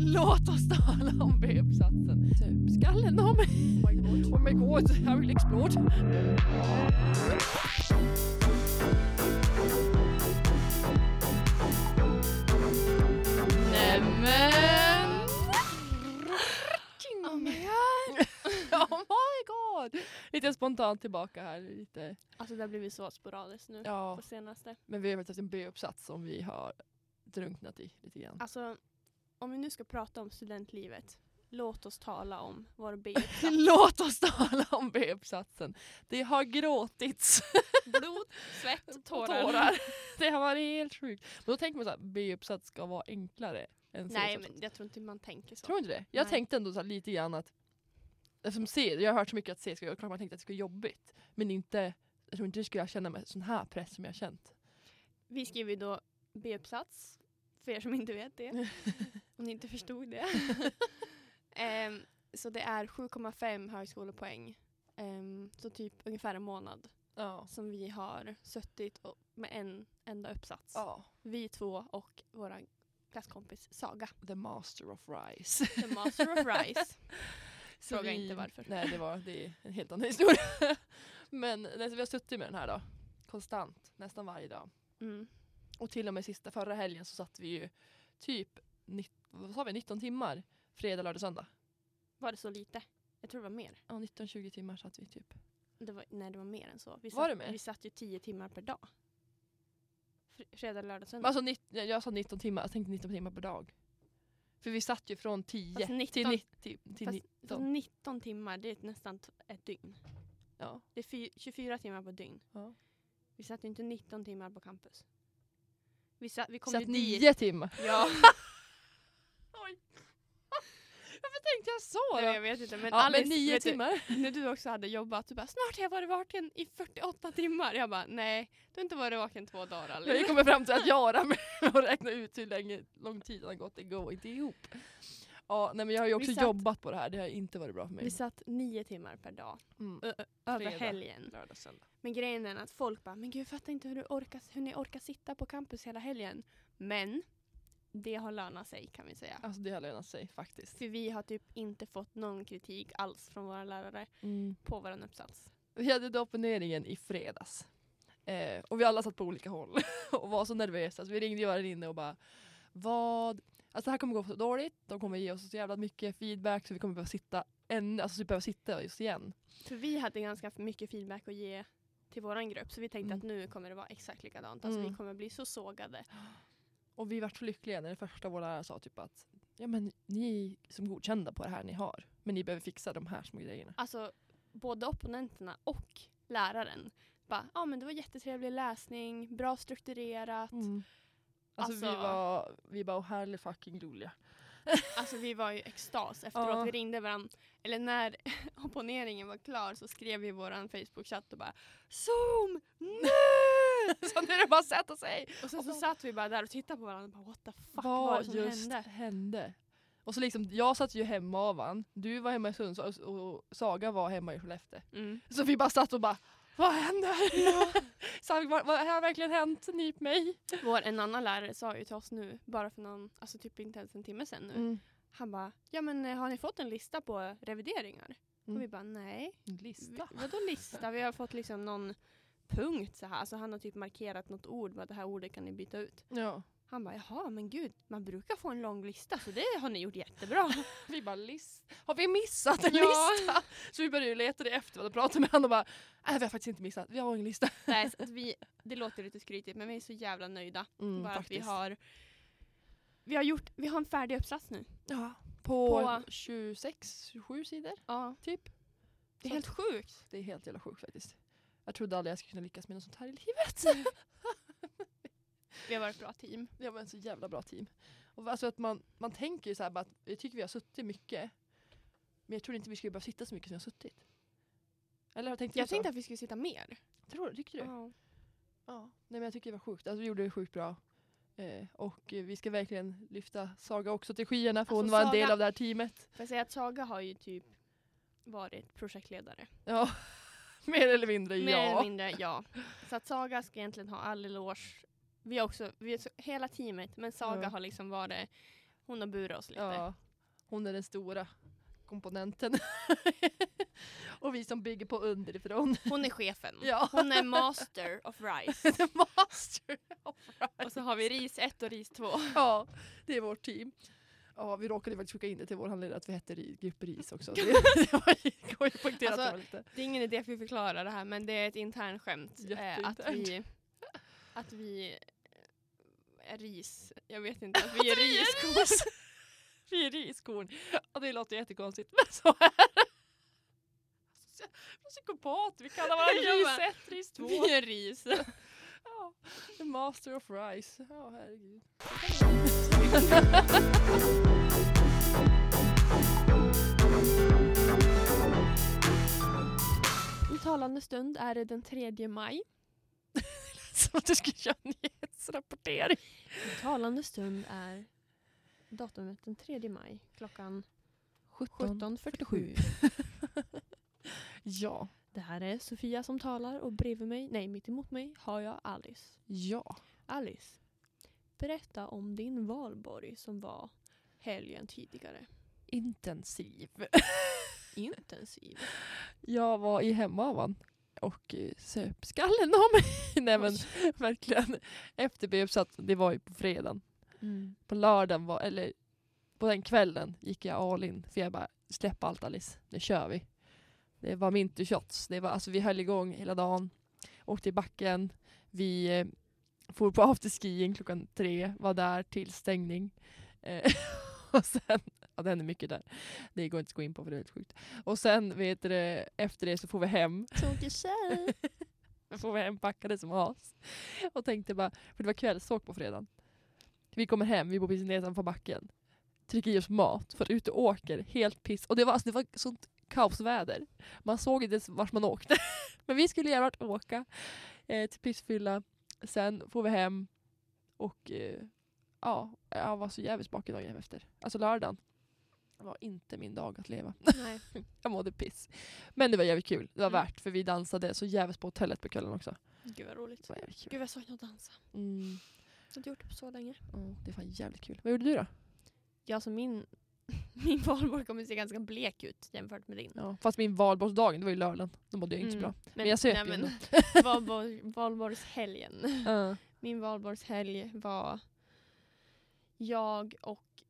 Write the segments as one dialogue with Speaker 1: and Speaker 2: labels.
Speaker 1: Låt oss tala om B-uppsatsen. Typ skallen av mig.
Speaker 2: Oh my god.
Speaker 1: Oh my god, I will explode. Nämen!
Speaker 2: Oh my
Speaker 1: Oh my god! Lite spontant tillbaka här. Lite.
Speaker 2: Alltså det har blivit så sporadiskt nu
Speaker 1: Ja,
Speaker 2: på senaste.
Speaker 1: men vi har faktiskt en B-uppsats som vi har drunknat i lite grann.
Speaker 2: Alltså om vi nu ska prata om studentlivet. Låt oss tala om vår B-uppsats.
Speaker 1: Låt oss tala om B-uppsatsen. Det har gråtits
Speaker 2: Blod, svett, tårar.
Speaker 1: tårar. Det har varit helt sjukt. Men då tänker man så här, B-uppsats ska vara enklare än C-uppsats.
Speaker 2: Nej men jag tror inte man tänker så.
Speaker 1: Tror du inte det? Jag
Speaker 2: Nej.
Speaker 1: tänkte ändå så här lite grann att som C, jag har hört så mycket att C ska vara klart man tänkte att det skulle vara jobbigt. Men inte, jag tror inte det skulle jag känna med sån här press som jag har känt.
Speaker 2: Vi skriver ju då B-uppsats, för er som inte vet det. Om ni inte förstod det. Ehm, så det är 7,5 högskolepoäng. Um, så typ ungefär en månad
Speaker 1: Ja.
Speaker 2: som vi har suttit och, med en enda uppsats.
Speaker 1: ja.
Speaker 2: Vi två och vår klasskompis Saga.
Speaker 1: The master of rice.
Speaker 2: The master of rice.
Speaker 1: Så
Speaker 2: Fråga inte varför.
Speaker 1: Nej, det, var, det är en helt annan historia. Men nej, så vi har suttit med den här då. Konstant, nästan varje dag.
Speaker 2: Mm.
Speaker 1: Och till och med sista förra helgen så satt vi ju typ nitt- vad sa vi, 19 timmar fredag, lördag, söndag.
Speaker 2: Var det så lite? Jag tror det var mer.
Speaker 1: Ja, 19-20 timmar satt vi typ.
Speaker 2: Det var, nej, det var mer än så. Vi
Speaker 1: Var
Speaker 2: satt,
Speaker 1: det mer?
Speaker 2: Vi satt ju tio timmar per dag. Fr- Fredag, lördag,
Speaker 1: Men
Speaker 2: söndag.
Speaker 1: Alltså, nitt- jag sa 19 timmar, jag tänkte 19 timmar per dag. För vi satt ju från 10
Speaker 2: Fast 19
Speaker 1: till 90. Till
Speaker 2: fast-
Speaker 1: ni-
Speaker 2: Så 19 timmar, det är ett- nästan t- ett dygn.
Speaker 1: ja.
Speaker 2: Det är fy- 24 timmar på ett dygn.
Speaker 1: Ja.
Speaker 2: Vi satt ju inte 19 timmar på campus. Vi, satt, vi kom
Speaker 1: Satt
Speaker 2: ju dit.
Speaker 1: 9 timmar.
Speaker 2: Ja,
Speaker 1: Oj. Varför tänkte jag så
Speaker 2: nej,
Speaker 1: då?
Speaker 2: jag vet inte. Men,
Speaker 1: ja,
Speaker 2: Alice,
Speaker 1: men 9
Speaker 2: vet du,
Speaker 1: timmar.
Speaker 2: när du också hade jobbat, du bara snart har jag varit vaken i 48 timmar. Jag bara nej, du har inte varit vaken två dagar
Speaker 1: Men Vi
Speaker 2: Alice.
Speaker 1: kommer fram till att göra med att räkna ut hur länge, lång tid det har gått, det går inte ihop. Ja, nej, men jag har ju också
Speaker 2: Vi satt-
Speaker 1: jobbat på det här, det har inte varit bra för
Speaker 2: Vi
Speaker 1: mig.
Speaker 2: satt nio timmar per dag
Speaker 1: Mm.
Speaker 2: över
Speaker 1: Fredag.
Speaker 2: helgen.
Speaker 1: Lördag, söndag.
Speaker 2: Men grejen är att folk bara, men gud jag fattar inte hur, du orkar, hur ni orkar sitta på campus hela helgen. Men det har lönat sig kan vi säga.
Speaker 1: Alltså det har lönat sig faktiskt.
Speaker 2: För vi har typ inte fått någon kritik alls från våra lärare på vår uppsats.
Speaker 1: Vi hade då opponeringen i fredags. Eh, och vi alla satt på olika håll och var så nervösa så vi ringde Göran inne och bara vad, alltså det här kommer gå så dåligt, de kommer ge oss så jävla mycket feedback så vi kommer behöva sitta ännu, alltså vi behöver sitta just igen.
Speaker 2: För vi hade ganska mycket feedback att ge till våran grupp så vi tänkte
Speaker 1: Mm.
Speaker 2: att nu kommer det vara exakt likadant. Alltså
Speaker 1: Mm.
Speaker 2: vi kommer bli så sågade.
Speaker 1: Och vi vart så lyckliga när det första vår lärare sa typ att ja men ni är som godkända på det här ni har, men ni behöver fixa de här små grejerna.
Speaker 2: Alltså både opponenterna och läraren bara, ja ah, men det var jättetrevlig läsning, bra strukturerat.
Speaker 1: Alltså, vi
Speaker 2: Alltså-
Speaker 1: var, vi bara oh herre fucking loliga.
Speaker 2: Alltså vi var ju i extas efteråt.
Speaker 1: Ja.
Speaker 2: Vi ringde varandra, eller när opponeringen var klar så skrev vi i våran Facebook-chatt och bara Zoom! Nej!
Speaker 1: så nu är det bara att sätta sig.
Speaker 2: Och sen så
Speaker 1: Alltså-
Speaker 2: satt vi bara där och tittade på varandra och bara what the fuck
Speaker 1: vad
Speaker 2: var det som
Speaker 1: just
Speaker 2: hände?
Speaker 1: hände? Och så liksom, jag satt ju hemma av han. du var hemma i Sundsvall och och Saga var hemma i Skellefteå.
Speaker 2: Mm.
Speaker 1: Så vi bara satt och bara, vad händer? Saga, vad, vad har verkligen hänt? Nyp mig.
Speaker 2: Vår, en annan lärare sa ju till oss nu, bara för någon, alltså typ inte ens en timme sedan nu. Han bara, ja men eh, har ni fått en lista på revideringar?
Speaker 1: Mm.
Speaker 2: Och vi bara nej.
Speaker 1: En
Speaker 2: Vi,
Speaker 1: Lista.
Speaker 2: vadå lista? Vi har fått liksom någon punkt så här. Alltså han har typ markerat något ord, bara det här ordet kan ni byta ut.
Speaker 1: Ja.
Speaker 2: Han bara, jaha men gud, man brukar få en lång lista så det har ni gjort jättebra.
Speaker 1: Vi bara, list. har vi missat en
Speaker 2: Ja.
Speaker 1: lista? Så vi började ju leta det efter och pratade med honom och bara, nej vi har faktiskt inte missat, vi har ingen lista.
Speaker 2: Nej, så att vi, det låter lite skrytigt men vi är så jävla nöjda. bara att vi har, vi har, gjort, vi har en färdig uppsats nu.
Speaker 1: ja, på,
Speaker 2: På-
Speaker 1: 26, 27 sidor
Speaker 2: Ja,
Speaker 1: typ.
Speaker 2: det är helt sjukt.
Speaker 1: Det är helt jävla sjukt faktiskt. Jag trodde aldrig jag skulle kunna lyckas med något sånt här i livet.
Speaker 2: Vi har varit ett bra team.
Speaker 1: Ja men så jävla bra team. Och alltså att man, man tänker ju så här bara att jag tycker vi har suttit mycket. Men jag tror inte vi skulle behöva sitta så mycket som vi har suttit. Eller har tänkt
Speaker 2: Jag tänkte att vi skulle sitta mer.
Speaker 1: Tror du? Tycker du?
Speaker 2: Ja.
Speaker 1: Ja. Nej men jag tycker det var sjukt. Alltså vi gjorde det sjukt bra. Eh, och eh, vi ska verkligen lyfta Saga också till skyarna för hon
Speaker 2: Alltså,
Speaker 1: var en
Speaker 2: Saga-
Speaker 1: del av det här teamet.
Speaker 2: Får jag säga att Saga har ju typ varit projektledare.
Speaker 1: Ja. Mer eller mindre
Speaker 2: Mer
Speaker 1: ja.
Speaker 2: eller mindre, ja. Så att Saga ska egentligen ha all eloge. Vi har också, vi är så, hela teamet, men Saga
Speaker 1: Ja.
Speaker 2: har liksom varit Hon har burat oss lite.
Speaker 1: Ja, hon är den stora komponenten. och vi som bygger på underifrån.
Speaker 2: Hon är chefen.
Speaker 1: Ja.
Speaker 2: Hon är master of rice.
Speaker 1: The master of
Speaker 2: Och så har vi ris 1 och ris 2.
Speaker 1: Ja, det är vårt team. Ja, vi råkade faktiskt skicka in det till vår handledare att vi hette Ri- Grupp Ris också. Det, det har ju går ju poängterat
Speaker 2: Alltså,
Speaker 1: det var lite.
Speaker 2: Det är ingen idé att vi förklarar det här men det är ett internt skämt. Eh, att
Speaker 1: Jätteinternt.
Speaker 2: vi, att vi är ris. Jag vet inte. Att Alltså, vi är riskorn.
Speaker 1: Vi är riskorn. Ja, det låter jättekonstigt, men så är det. Alltså, Psykopat, vi kallar
Speaker 2: Ja,
Speaker 1: varandra
Speaker 2: men-
Speaker 1: ris ett, ris två.
Speaker 2: Vi är ris.
Speaker 1: Ja, the master of rice. Ja, herregud.
Speaker 2: I talande stund är det den 3 maj.
Speaker 1: Som att du skulle göra en nyhetsrapportering.
Speaker 2: I talande stund är datumet den 3 maj klockan 17.47.
Speaker 1: Ja.
Speaker 2: Det här är Sofia som talar och bredvid mig, nej mitt emot mig, har jag Alice.
Speaker 1: Ja.
Speaker 2: Alice, berätta om din valborg som var helgen tidigare.
Speaker 1: Intensiv.
Speaker 2: Intensiv.
Speaker 1: Jag var i hemavan och eh, söp skallen av mig. Nej men verkligen. Efterbep så att det var ju på fredagen.
Speaker 2: Mm.
Speaker 1: På lördagen var, eller på den kvällen gick jag all in. För jag bara, släpp allt Alice, nu kör vi. Det var mintushots. Det var, alltså vi höll igång hela dagen. Åkte i backen. Vi eh, for på afterskiing klockan tre. Var där till stängning. Eh, och sen, ja det hände mycket där. Det går inte att gå in på för det är helt sjukt. Och sen vet du, det, efter det så får vi hem.
Speaker 2: Tokig tjej.
Speaker 1: Jag får vara hempackade som as. Och tänkte bara, för det var kvällsåk på fredagen. Vi kommer hem, vi bor precis nedanför backen. Trycker i oss mat, för ut och åker, helt piss. Och det var, alltså, det var sånt kaosväder. Man såg inte ens vart man åkte. Men vi skulle jävlar åka eh, till pissfylla. Sen får vi hem och eh, ja, jag var så jävligt bakig dagen efter. Alltså lördagen var inte min dag att leva.
Speaker 2: Nej.
Speaker 1: Jag mådde piss. Men det var jävligt kul. Det var
Speaker 2: Mm.
Speaker 1: värt för vi dansade så jävligt på hotellet på kvällen också.
Speaker 2: Gud vad roligt.
Speaker 1: Det var jävligt kul.
Speaker 2: Gud jag saknar att dansa.
Speaker 1: Mm.
Speaker 2: Jag har inte gjort det på så länge.
Speaker 1: det var jävligt kul. Vad gjorde du då?
Speaker 2: Ja, alltså min, min valborg kommer se ganska blek ut jämfört med din.
Speaker 1: Fast min valborgsdag, det var ju lördagen. Då mådde jag inte så
Speaker 2: Mm.
Speaker 1: bra. Men jag söp ju
Speaker 2: nej,
Speaker 1: ändå.
Speaker 2: men, valborg, Valborgshelgen. Min valborgshelg var jag och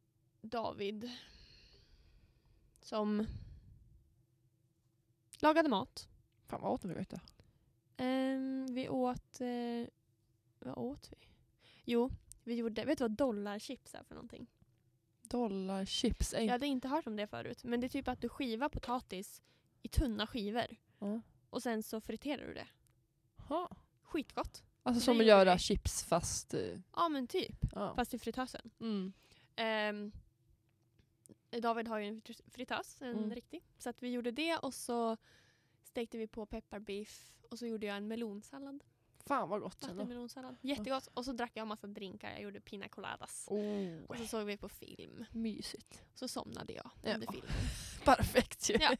Speaker 2: David som lagade mat.
Speaker 1: Fan vad åt ni vet jag.
Speaker 2: Ehm, vi åt... Eh, vad åt vi? Jo, vi gjorde... Vet du vad dollarchips är för någonting?
Speaker 1: Dollarchips.
Speaker 2: Jag
Speaker 1: Ja.
Speaker 2: hade inte hört om det förut. Men det är typ att du skivar potatis i tunna skivor.
Speaker 1: Ja.
Speaker 2: Och sen så friterar du det.
Speaker 1: Ha.
Speaker 2: Skitgott.
Speaker 1: Alltså
Speaker 2: Det
Speaker 1: som att
Speaker 2: gjorde
Speaker 1: göra
Speaker 2: vi.
Speaker 1: chips fast... eh,
Speaker 2: Ja men typ.
Speaker 1: Ja.
Speaker 2: Fast i fritösen.
Speaker 1: Mm.
Speaker 2: Ehm, David har ju en frit- fritös, en
Speaker 1: Mm.
Speaker 2: riktig. Så att vi gjorde det och så stekte vi på pepparbiff och så gjorde jag en melonsallad.
Speaker 1: Fan vad gott. ändå.
Speaker 2: Vattenmelonsallad. Jättegott. Och så drack jag en massa drinkar. Jag gjorde pina coladas. Och
Speaker 1: Oh,
Speaker 2: så såg vi på film.
Speaker 1: mysigt.
Speaker 2: Så somnade jag
Speaker 1: Ja.
Speaker 2: under filmen.
Speaker 1: Perfekt ju.
Speaker 2: Ja,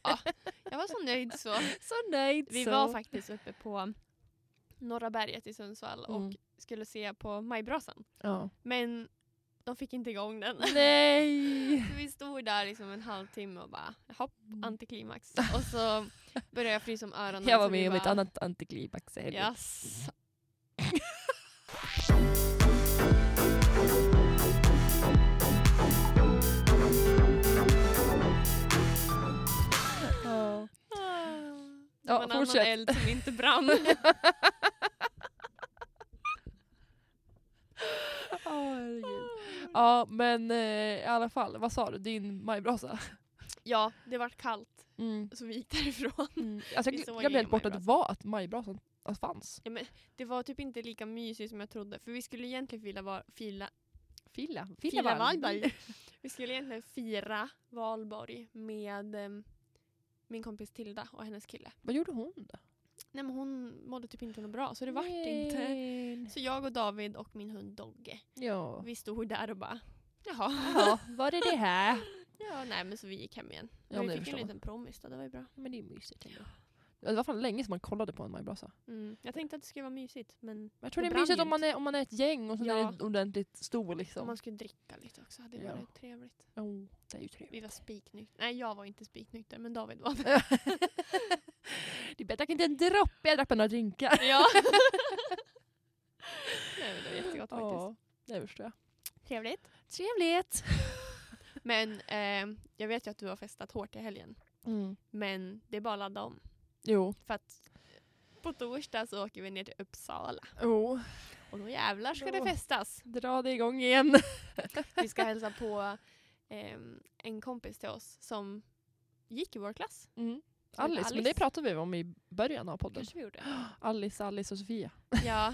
Speaker 2: jag var så nöjd så.
Speaker 1: Så nöjd
Speaker 2: Vi
Speaker 1: så.
Speaker 2: var faktiskt uppe på Norra berget i Sundsvall
Speaker 1: Mm.
Speaker 2: och skulle se på Majbrasan.
Speaker 1: Ja.
Speaker 2: Men de fick inte igång den.
Speaker 1: Nej!
Speaker 2: Så vi stod där liksom en halvtimme och bara hopp, antiklimax. Och så började Mm. jag frysa om öronen.
Speaker 1: Jag var
Speaker 2: så vi
Speaker 1: med om ett
Speaker 2: bara,
Speaker 1: annat antiklimax i helgen.
Speaker 2: Yes.
Speaker 1: Ja.
Speaker 2: Det var en annan
Speaker 1: fortsätt.
Speaker 2: eld som inte brann.
Speaker 1: Ja, herregud. Ja, men eh, i alla fall, vad sa du? Din majbrasa?
Speaker 2: ja, det var kallt så vi gick därifrån.
Speaker 1: Mm. Alltså,
Speaker 2: Vi
Speaker 1: jag
Speaker 2: såg
Speaker 1: glömde helt
Speaker 2: ingen
Speaker 1: bort att det
Speaker 2: majbrasa.
Speaker 1: var att majbrasan att fanns.
Speaker 2: Ja, men det var typ inte lika mysigt som jag trodde. För vi skulle egentligen fila, var, fila,
Speaker 1: Filla.
Speaker 2: fila Valborg. Vi skulle egentligen fira Valborg med em, min kompis Tilda och hennes kille.
Speaker 1: Vad gjorde hon då?
Speaker 2: Nej men hon mådde typ inte något bra så det vart inte. Så jag och David och min hund Dogge,
Speaker 1: Ja.
Speaker 2: vi stod där och bara jaha.
Speaker 1: ja, var det det här?
Speaker 2: Ja, nej men så vi gick hem igen.
Speaker 1: Ja, men
Speaker 2: Men
Speaker 1: det
Speaker 2: vi fick
Speaker 1: förstår
Speaker 2: en
Speaker 1: man.
Speaker 2: liten promis då, det var ju bra.
Speaker 1: Men det är mysigt ändå. Det var fan länge sedan man kollade på en majbrasa.
Speaker 2: Mm. Jag tänkte att det skulle vara mysigt men
Speaker 1: Men jag tror det,
Speaker 2: Det
Speaker 1: är
Speaker 2: brann
Speaker 1: mysigt
Speaker 2: ju
Speaker 1: om man är, om man är ett gäng och så
Speaker 2: Ja.
Speaker 1: är det ordentligt stor liksom.
Speaker 2: om man skulle dricka lite också hade det
Speaker 1: Ja.
Speaker 2: varit trevligt.
Speaker 1: Oh, det är ju
Speaker 2: Vi
Speaker 1: trevligt.
Speaker 2: var spiknyktra. Nej jag var inte spiknykter men David var det.
Speaker 1: det är bättre att inte en droppe, jag drack bara några drinkar.
Speaker 2: ja. Nej men det var jättegott faktiskt.
Speaker 1: Ja, det förstår jag.
Speaker 2: Trevligt.
Speaker 1: Trevligt!
Speaker 2: Men eh, jag vet ju att du har festat hårt i helgen.
Speaker 1: Mm.
Speaker 2: Men det är bara att ladda om.
Speaker 1: Jo.
Speaker 2: För att på torsdag så åker vi ner till Uppsala.
Speaker 1: Oh.
Speaker 2: Och då jävlar ska det
Speaker 1: Då.
Speaker 2: festas.
Speaker 1: Dra det igång igen.
Speaker 2: Vi ska hälsa på ehm, en kompis till oss som gick i vår klass.
Speaker 1: Mm.
Speaker 2: Som heter
Speaker 1: Alice, men det pratade vi om i början av podden.
Speaker 2: Kanske vi gjorde.
Speaker 1: Alice, Alice och Sofia.
Speaker 2: Ja.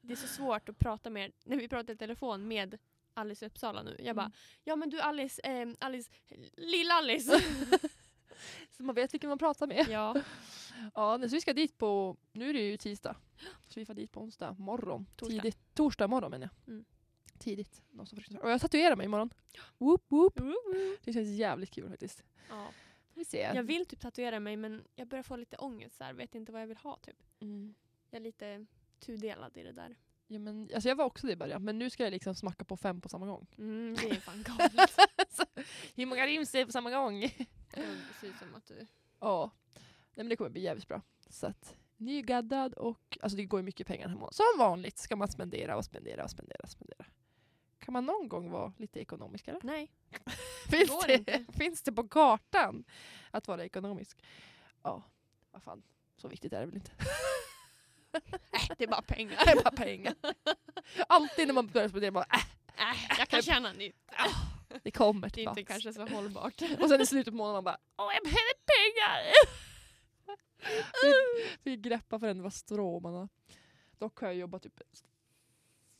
Speaker 2: Det är så svårt att prata med, när vi pratar i telefon med Alice i Uppsala nu. Jag bara,
Speaker 1: Mm.
Speaker 2: ja men du Alice, ehm, Alice, lill-Alice.
Speaker 1: Så man vet vilken man pratar med.
Speaker 2: ja,
Speaker 1: Ja, nej, så vi ska dit på, nu är det ju tisdag. Så vi får dit på onsdag morgon.
Speaker 2: Torsdag.
Speaker 1: Tidigt. Torsdag morgon menar jag.
Speaker 2: Mm.
Speaker 1: Tidigt. Någon som försöker- Och jag tatuerar mig imorgon. Whoop, whoop.
Speaker 2: Woop,
Speaker 1: Det känns jävligt kul faktiskt.
Speaker 2: ja.
Speaker 1: Får vi se. Mm.
Speaker 2: Jag vill typ tatuera mig men jag börjar få lite ångest så här. vet inte vad jag vill ha typ.
Speaker 1: Mm.
Speaker 2: Jag är lite tudelad i det där.
Speaker 1: Ja, men, alltså jag var också det i början, men nu ska jag liksom smacka på fem på samma gång.
Speaker 2: Mm, det är fan galet.
Speaker 1: Hur många rims är det på samma gång?
Speaker 2: det ser ut som att du...
Speaker 1: Ja. Nej, men det kommer bli jävligt bra. Så att, nygaddad och alltså det går ju mycket pengar hemma. Som vanligt ska man spendera och spendera och spendera. Och spendera. Kan man någon gång vara lite ekonomisk eller?
Speaker 2: Nej.
Speaker 1: Finns
Speaker 2: går
Speaker 1: det,
Speaker 2: inte.
Speaker 1: finns det på kartan att vara ekonomisk? Ja, vad fan. Så viktigt är det väl inte.
Speaker 2: Äh, det är bara pengar.
Speaker 1: Det är bara pengar. Alltid när man börjar spendera, bara, äh,
Speaker 2: Äh, jag kan tjäna nytt. Äh,
Speaker 1: det kommer
Speaker 2: Det är inte
Speaker 1: tillbaks.
Speaker 2: kanske så hållbart. Äh,
Speaker 1: Och sen i slutet på månaden bara, åh jag behöver pengar! Fick- Fick greppa för den var stråmarna. Dock har jag jobbat typ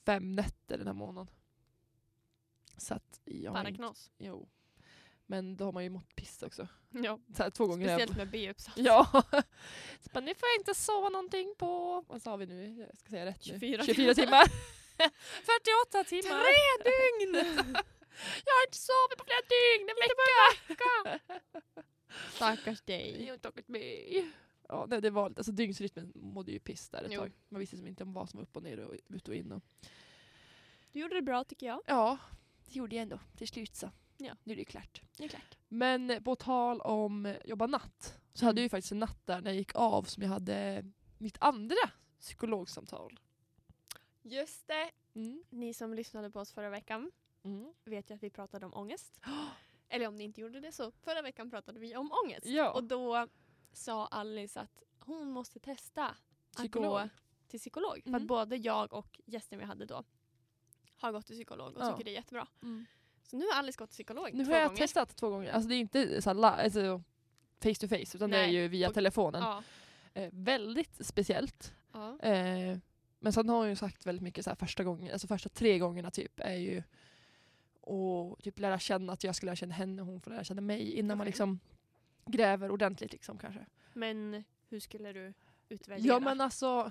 Speaker 1: fem nätter den här månaden. Så att jag har
Speaker 2: Bara
Speaker 1: inte,
Speaker 2: knas.
Speaker 1: jo. Men då har man ju mått piss också.
Speaker 2: Ja,
Speaker 1: Så här, två gånger har jag-
Speaker 2: speciellt med B-uppsats.
Speaker 1: Ja. Så bara, nu får jag inte sova någonting på, vad sa vi nu, jag ska säga rätt
Speaker 2: 24
Speaker 1: nu. 24 timmar. 48 timmar. Tre dygn! jag har inte sovit på flera dygn, en vecka.
Speaker 2: Stackars
Speaker 1: Jag
Speaker 2: dig.
Speaker 1: har inte orkat med. Ja, nej, det var, alltså, dygnsrytmen mådde ju piss där ett
Speaker 2: Jo.
Speaker 1: tag. Man visste som inte om vad som var upp och ner och ut och in. Och.
Speaker 2: Du gjorde det bra tycker jag.
Speaker 1: Ja, det gjorde jag ändå till slut så.
Speaker 2: Ja.
Speaker 1: Nu är det klart.
Speaker 2: Det är klart.
Speaker 1: Men eh, på tal om eh, jobba natt så hade jag ju faktiskt en natt där när jag gick av som jag hade mitt andra psykologsamtal.
Speaker 2: Just det.
Speaker 1: Mm.
Speaker 2: Ni som lyssnade på oss förra veckan vet ju att vi pratade om ångest. Eller om ni inte gjorde det så förra veckan pratade vi om ångest.
Speaker 1: Ja.
Speaker 2: Och då sa Alice att hon måste testa
Speaker 1: Psykolog.
Speaker 2: att gå till psykolog. För
Speaker 1: Mm.
Speaker 2: att både jag och gästen vi hade då har gått till psykolog och
Speaker 1: Ja.
Speaker 2: tycker det är jättebra.
Speaker 1: Mm.
Speaker 2: Så nu har Alice gått till psykolog
Speaker 1: Nu
Speaker 2: två
Speaker 1: har jag
Speaker 2: gånger.
Speaker 1: testat två gånger. Alltså det är inte så här, la- alltså, face to face utan det är
Speaker 2: Nej,
Speaker 1: ju via
Speaker 2: på-
Speaker 1: telefonen.
Speaker 2: Ja.
Speaker 1: Eh, väldigt speciellt.
Speaker 2: Ja.
Speaker 1: Eh, men sen har hon ju sagt väldigt mycket så här första gången, alltså första tre gångerna typ är ju och typ lära känna att jag ska lära känna henne och hon får lära känna mig innan man
Speaker 2: Okej.
Speaker 1: liksom gräver ordentligt liksom kanske.
Speaker 2: Men hur skulle du utvärdera?
Speaker 1: Ja men alltså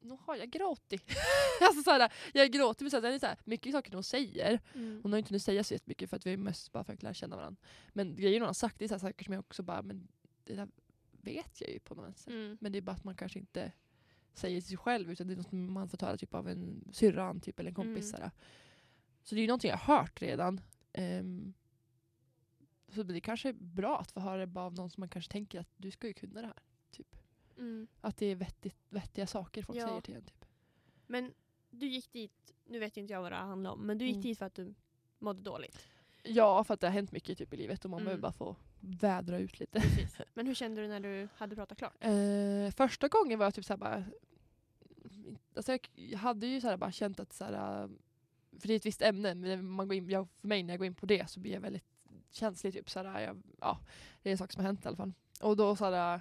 Speaker 1: nu har jag gråtit. alltså så här, jag gråter för så här, det är så här, mycket saker hon säger.
Speaker 2: mm.
Speaker 1: Hon har ju inte hunnit säga så jättemycket för att vi är mest bara för att lära känna varandra. Men grejer hon har sagt det är så här saker som jag också bara, men det där vet jag ju på något sätt.
Speaker 2: Mm.
Speaker 1: Men det är bara att man kanske inte säger till sig själv utan det är något som man får höra typ av en syrran typ, eller en
Speaker 2: Mm.
Speaker 1: kompis. sådär. Så det är ju någonting jag har hört redan. Ehm, så det är kanske är bra att få höra det bara av någon som man kanske tänker att du ska ju kunna det här. Typ.
Speaker 2: Mm.
Speaker 1: Att det är vettigt, vettiga saker folk
Speaker 2: Ja.
Speaker 1: säger till en. Typ.
Speaker 2: men du gick dit, nu vet inte jag vad det här handlar om, men du gick
Speaker 1: Mm.
Speaker 2: dit för att du mådde dåligt.
Speaker 1: Ja, för att det har hänt mycket typ, i livet och man
Speaker 2: Mm.
Speaker 1: behöver bara få vädra ut lite.
Speaker 2: Precis. Men hur kände du när du hade pratat klart?
Speaker 1: Eh, första gången var jag typ såhär bara... Alltså jag, jag hade ju såhär bara känt att såhär... För det är ett visst ämne, men när man går in, jag, för mig när jag går in på det så blir jag väldigt känslig. Typ, såhär, jag, ja, det är en sak som har hänt i alla fall. Och då såhär...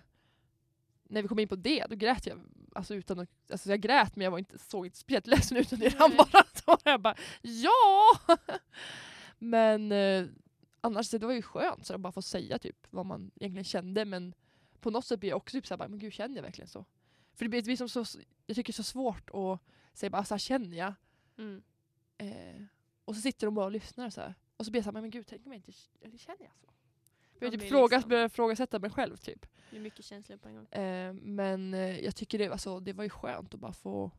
Speaker 1: När vi kom in på det, då grät jag. Alltså, utan att, alltså jag grät men jag var inte, såg inte speciellt ledsen ut utan
Speaker 2: Nej.
Speaker 1: bara så var jag bara ja! men eh, annars det var ju skönt så att bara få säga typ vad man egentligen kände men på något sätt blir jag också typ såhär, bara, men gud känner jag verkligen så? För det blir, det blir som så, jag tycker det är så svårt att säga bara, så här känner jag?
Speaker 2: Mm.
Speaker 1: Eh, och så sitter de bara och lyssnar så här. Och så blir jag såhär, men gud tänk om jag inte eller känner jag så? Jag
Speaker 2: Man
Speaker 1: typ
Speaker 2: blir
Speaker 1: frågas,
Speaker 2: liksom-
Speaker 1: började ifrågasätta mig själv typ.
Speaker 2: Det är mycket känslor på en gång.
Speaker 1: Eh, men eh, jag tycker det, alltså, det var ju skönt att bara få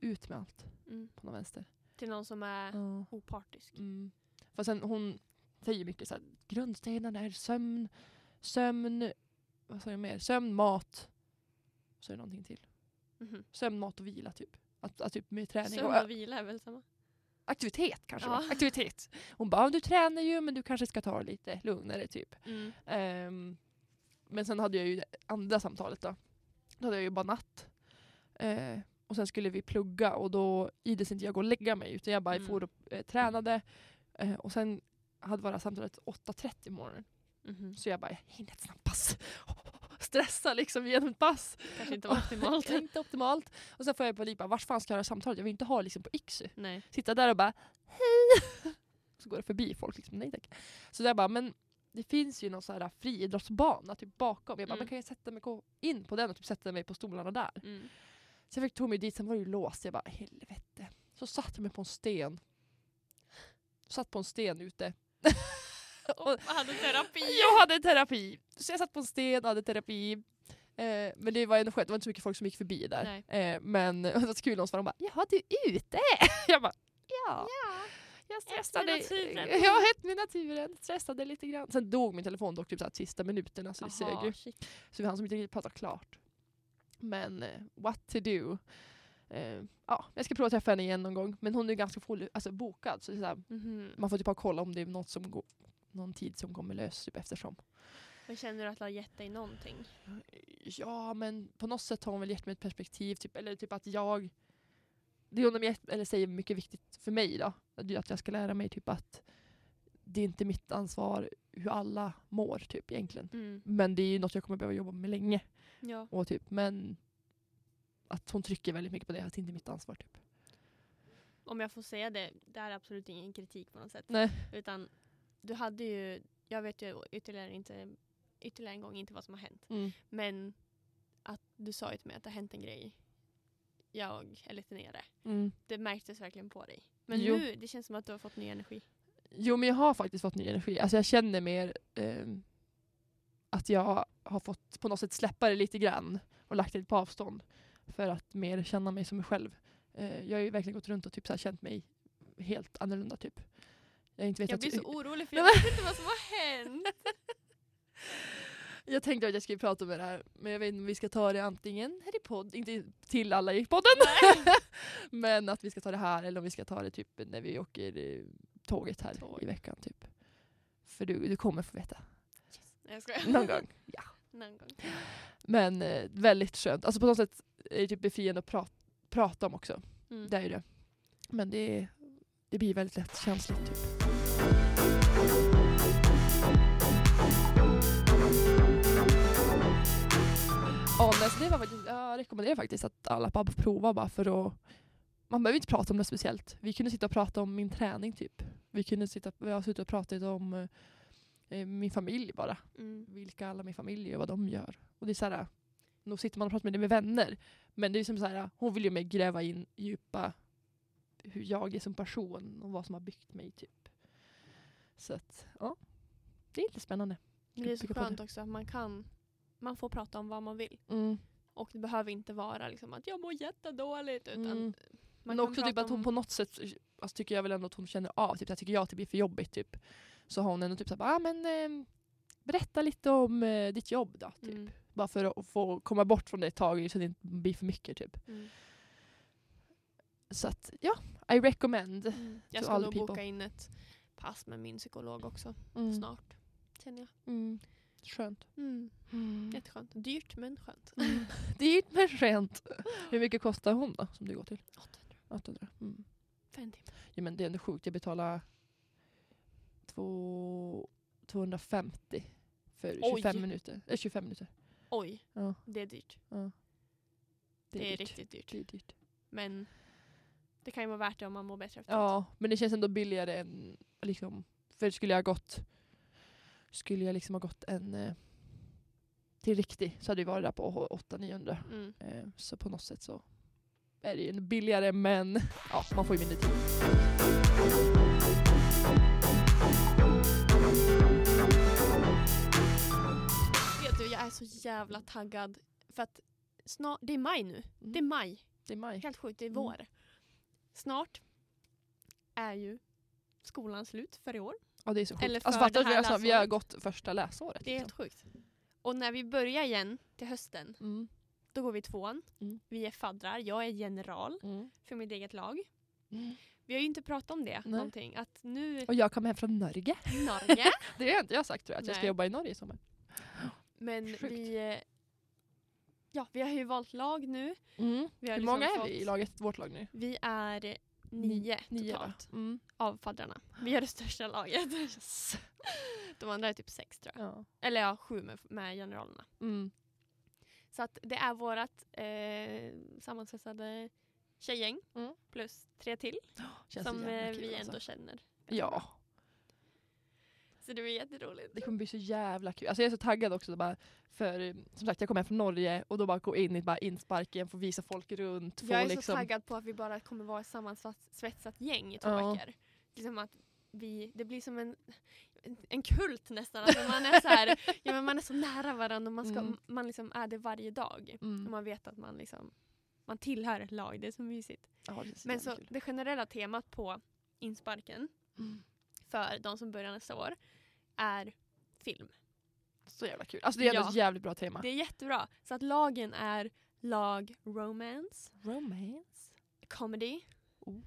Speaker 1: ut med allt
Speaker 2: Mm.
Speaker 1: på någon vänster.
Speaker 2: Till någon som är
Speaker 1: Ja.
Speaker 2: opartisk.
Speaker 1: Mm. Fast sen hon säger mycket så här, grundstenarna är sömn, sömn, vad sa jag mer? Sömn, mat. Så är det någonting till.
Speaker 2: Mhm.
Speaker 1: Sömn, mat och vila typ. Att, att typ med träning och
Speaker 2: Sömn och vila är väl samma?
Speaker 1: aktivitet kanske.
Speaker 2: Ja.
Speaker 1: va? Aktivitet. Hon bara, du tränar ju men du kanske ska ta det lite lugnare typ.
Speaker 2: Mm.
Speaker 1: Ehm, men sen hade jag ju det andra samtalet då. Då hade jag ju bara natt. Eh, och sen skulle vi plugga och då ides inte jag gå och lägga mig utan jag bara
Speaker 2: Mm.
Speaker 1: for och eh, tränade. Eh, och sen hade bara samtalet 8.30 i morgonen.
Speaker 2: Mhm.
Speaker 1: Så jag bara, jag hinner ett snabbt pass. Stressa liksom genom ett pass.
Speaker 2: Kanske inte var optimalt.
Speaker 1: Det är inte optimalt. Och sen får jag på lipa, vart fan ska jag göra samtalet? Jag vill inte ha liksom på Iksu
Speaker 2: Nej.
Speaker 1: sitta där och bara hej. Så går det förbi folk liksom, nej tack. Så jag bara, men det finns ju någon sån här friidrottsbana typ bakom. Jag bara,
Speaker 2: Mm.
Speaker 1: men kan jag sätta mig gå in på den och typ sätta mig på stolarna där?
Speaker 2: Mm.
Speaker 1: Så jag fick tog mig dit, sen var det ju låst. Jag bara, helvete. Så satte jag mig på en sten. Satt på en sten ute.
Speaker 2: Och hade terapi.
Speaker 1: Jag hade terapi! Så jag satt på en sten och hade terapi. Eh, men det var ändå skönt, det var inte så mycket folk som gick förbi där. Eh, men det var så kul, någon svarade bara “Jaha, du är ute?” Jag bara “Ja”. Jag stressade.
Speaker 2: Ett med naturen.
Speaker 1: Jag har hett med naturen. Stressade lite grann. Sen dog min telefon dock typ så här, sista minuterna så det sög ju.
Speaker 2: shit.
Speaker 1: Så vi hann som inte riktigt prata klart. Men eh, what to do. Eh, ja, jag ska prova att träffa henne igen någon gång. Men hon är ju ganska full, alltså, bokad. Så det är så här,
Speaker 2: Mhm.
Speaker 1: man får typ bara kolla om det är något som går, någon tid som kommer lös typ eftersom.
Speaker 2: Men känner du att det har gett dig någonting?
Speaker 1: Ja, men på något sätt har hon väl gett mig ett perspektiv. Typ, eller typ att jag... Det hon har gett, eller säger mycket viktigt för mig då. Det är att jag ska lära mig typ att det är inte mitt ansvar hur alla mår typ egentligen.
Speaker 2: Mm.
Speaker 1: Men det är ju något jag kommer behöva jobba med länge.
Speaker 2: Ja.
Speaker 1: Och typ, men att hon trycker väldigt mycket på det, att det inte är mitt ansvar. Typ.
Speaker 2: Om jag får säga det, det här är absolut ingen kritik på något sätt.
Speaker 1: Nej.
Speaker 2: Utan du hade ju, jag vet ju ytterligare, inte, ytterligare en gång inte vad som har hänt. Men att du sa ju till mig att det har hänt en grej. Jag är lite nere. Det märktes verkligen på dig. Men
Speaker 1: Jo.
Speaker 2: nu, det känns som att du har fått ny energi.
Speaker 1: Jo men jag har faktiskt fått ny energi. Alltså jag känner mer ehm, att jag har fått på något sätt släppa det lite grann och lagt det på avstånd för att mer känna mig som mig själv. Eh, jag har ju verkligen gått runt och typ så här känt mig helt annorlunda typ. Jag, har inte vet
Speaker 2: Jag
Speaker 1: att,
Speaker 2: blir så orolig för jag
Speaker 1: Nej,
Speaker 2: vet inte vad som har hänt.
Speaker 1: jag tänkte att jag skulle prata om det här men jag vet inte om vi ska ta det antingen här i podd, inte till alla i podden, men att vi ska ta det här eller om vi ska ta det typ när vi åker eh, tåget här
Speaker 2: Tåg.
Speaker 1: i veckan typ. För du, du kommer få veta
Speaker 2: Nej jag skojar.
Speaker 1: någon gång.
Speaker 2: Någon gång.
Speaker 1: Men eh, väldigt skönt. Alltså på något sätt är det typ befriande att pra- prata om också.
Speaker 2: Mm.
Speaker 1: Det är ju det. Men det, det blir väldigt lätt känsligt. Typ. Ja, men så det var faktiskt, jag rekommenderar faktiskt att alla bara provar bara för att man behöver inte prata om något speciellt. Vi kunde sitta och prata om min träning typ. Vi kunde sitta, vi har suttit och pratat om eh, min familj bara
Speaker 2: Mm.
Speaker 1: vilka alla min familj är och vad de gör. Och det är så här, nog sitter man och pratar med det med vänner. Men det är som så här, hon vill ju mer gräva in djupa hur jag är som person och vad som har byggt mig typ. Så att, ja. Det är lite spännande.
Speaker 2: Men Det är så
Speaker 1: Tycker på
Speaker 2: skönt också att man kan, man får prata om vad man vill.
Speaker 1: Mm.
Speaker 2: Och det behöver inte vara liksom att jag mår jättedåligt. Utan
Speaker 1: Mm.
Speaker 2: man
Speaker 1: Men
Speaker 2: kan
Speaker 1: också typ
Speaker 2: prata
Speaker 1: att hon
Speaker 2: om-
Speaker 1: på något sätt, alltså tycker jag väl ändå att hon känner av, typ, det här tycker jag att det blir för jobbigt typ. Så har hon ändå typ såhär, ah, men eh, berätta lite om eh, ditt jobb då. Typ.
Speaker 2: Mm.
Speaker 1: Bara för att få komma bort från det ett tag så det inte blir för mycket typ.
Speaker 2: Mm.
Speaker 1: Så att ja, I recommend.
Speaker 2: Mm. Jag
Speaker 1: To
Speaker 2: ska
Speaker 1: all
Speaker 2: nog
Speaker 1: people.
Speaker 2: boka in ett pass med min psykolog också
Speaker 1: Mm.
Speaker 2: snart. Känner jag. Mm.
Speaker 1: Mm. Skönt.
Speaker 2: Jätteskönt. Dyrt men skönt.
Speaker 1: Mm. Dyrt men skönt. Hur mycket kostar hon då som du går till?
Speaker 2: 800
Speaker 1: 800. Mm.
Speaker 2: för en timme.
Speaker 1: Ja, men det är ändå sjukt, jag betalar två, 250 för
Speaker 2: Oj.
Speaker 1: 25 minuter. Äh, 25 minuter.
Speaker 2: Oj,
Speaker 1: Ja,
Speaker 2: det är dyrt.
Speaker 1: ja.
Speaker 2: Det är,
Speaker 1: dyrt.
Speaker 2: riktigt dyrt.
Speaker 1: Det är dyrt.
Speaker 2: Men det kan ju vara värt det om man mår bättre efteråt.
Speaker 1: Ja, men det känns ändå billigare än liksom, för skulle jag ha gått skulle jag liksom ha gått en eh, till riktig så hade vi varit där på 800-900.
Speaker 2: Mm.
Speaker 1: Eh, Så på något sätt så är det ju billigare men ja, man får ju mindre tid.
Speaker 2: jävla taggad. För att snart, det är maj nu. Det är maj.
Speaker 1: Det är maj.
Speaker 2: Helt sjukt, det är
Speaker 1: Mm.
Speaker 2: vår. Snart är ju skolan slut för i år.
Speaker 1: Ja, det är så sjukt.
Speaker 2: Eller
Speaker 1: Alltså,
Speaker 2: för
Speaker 1: fattar
Speaker 2: det
Speaker 1: du? Vi,
Speaker 2: här
Speaker 1: alltså, vi har
Speaker 2: läsåret.
Speaker 1: gått första läsåret.
Speaker 2: Det är
Speaker 1: liksom.
Speaker 2: helt sjukt. Och när vi börjar igen till hösten,
Speaker 1: mm,
Speaker 2: då går vi i tvåan.
Speaker 1: Mm.
Speaker 2: Vi är faddrar, jag är general
Speaker 1: mm.
Speaker 2: för mitt eget lag. Vi har ju inte pratat om det
Speaker 1: Nej.
Speaker 2: någonting. Att nu
Speaker 1: Och jag kom hem från Norge.
Speaker 2: Norge,
Speaker 1: Det har inte jag sagt tror jag, att jag ska
Speaker 2: Nej.
Speaker 1: jobba i Norge i sommar.
Speaker 2: men
Speaker 1: Sjukt.
Speaker 2: vi... eh, Ja, vi har ju valt lag nu. Vi har
Speaker 1: Hur
Speaker 2: liksom
Speaker 1: många är
Speaker 2: fått-
Speaker 1: vi i laget, vårt lag nu?
Speaker 2: Vi är eh, nio,
Speaker 1: Nio va?
Speaker 2: totalt
Speaker 1: Mm.
Speaker 2: av faddrarna. Vi är det största laget. De andra är typ sex tror jag.
Speaker 1: Ja.
Speaker 2: Eller ja, sju med, med generalerna.
Speaker 1: Mm.
Speaker 2: Så att det är vårat eh, sammansvetsade tjejgäng
Speaker 1: Mm.
Speaker 2: plus tre till
Speaker 1: Känns så
Speaker 2: som
Speaker 1: jävla
Speaker 2: eh,
Speaker 1: kul,
Speaker 2: vi
Speaker 1: alltså.
Speaker 2: ändå känner.
Speaker 1: Ja,
Speaker 2: Så det blir jätteroligt.
Speaker 1: det kommer bli så jävla kul. Alltså jag är så taggad också. Bara, för eh, som sagt, jag kom hem från Norge och då bara gå in i bara insparken, få visa folk runt. Få
Speaker 2: Jag är så
Speaker 1: liksom,
Speaker 2: taggad på att vi bara kommer vara ett sammansvetsat gäng i två
Speaker 1: Ja.
Speaker 2: veckor. Liksom att vi, det blir som en, en kult nästan. Alltså man, är så här, ja, men man är så nära varandra och man, ska,
Speaker 1: Mm.
Speaker 2: man liksom är det varje dag. Och
Speaker 1: Mm.
Speaker 2: man vet att man, liksom, man tillhör ett lag, det är så mysigt.
Speaker 1: Ja, det är så
Speaker 2: Men
Speaker 1: jävla
Speaker 2: så
Speaker 1: kul.
Speaker 2: det generella temat på insparken
Speaker 1: Mm.
Speaker 2: för de som börjar nästa år är film.
Speaker 1: Så jävla kul. Alltså det är ändå
Speaker 2: Ja.
Speaker 1: ett jävligt bra tema.
Speaker 2: Det är jättebra. Så att lagen är lag romance,
Speaker 1: Romance.
Speaker 2: comedy,
Speaker 1: Ooh.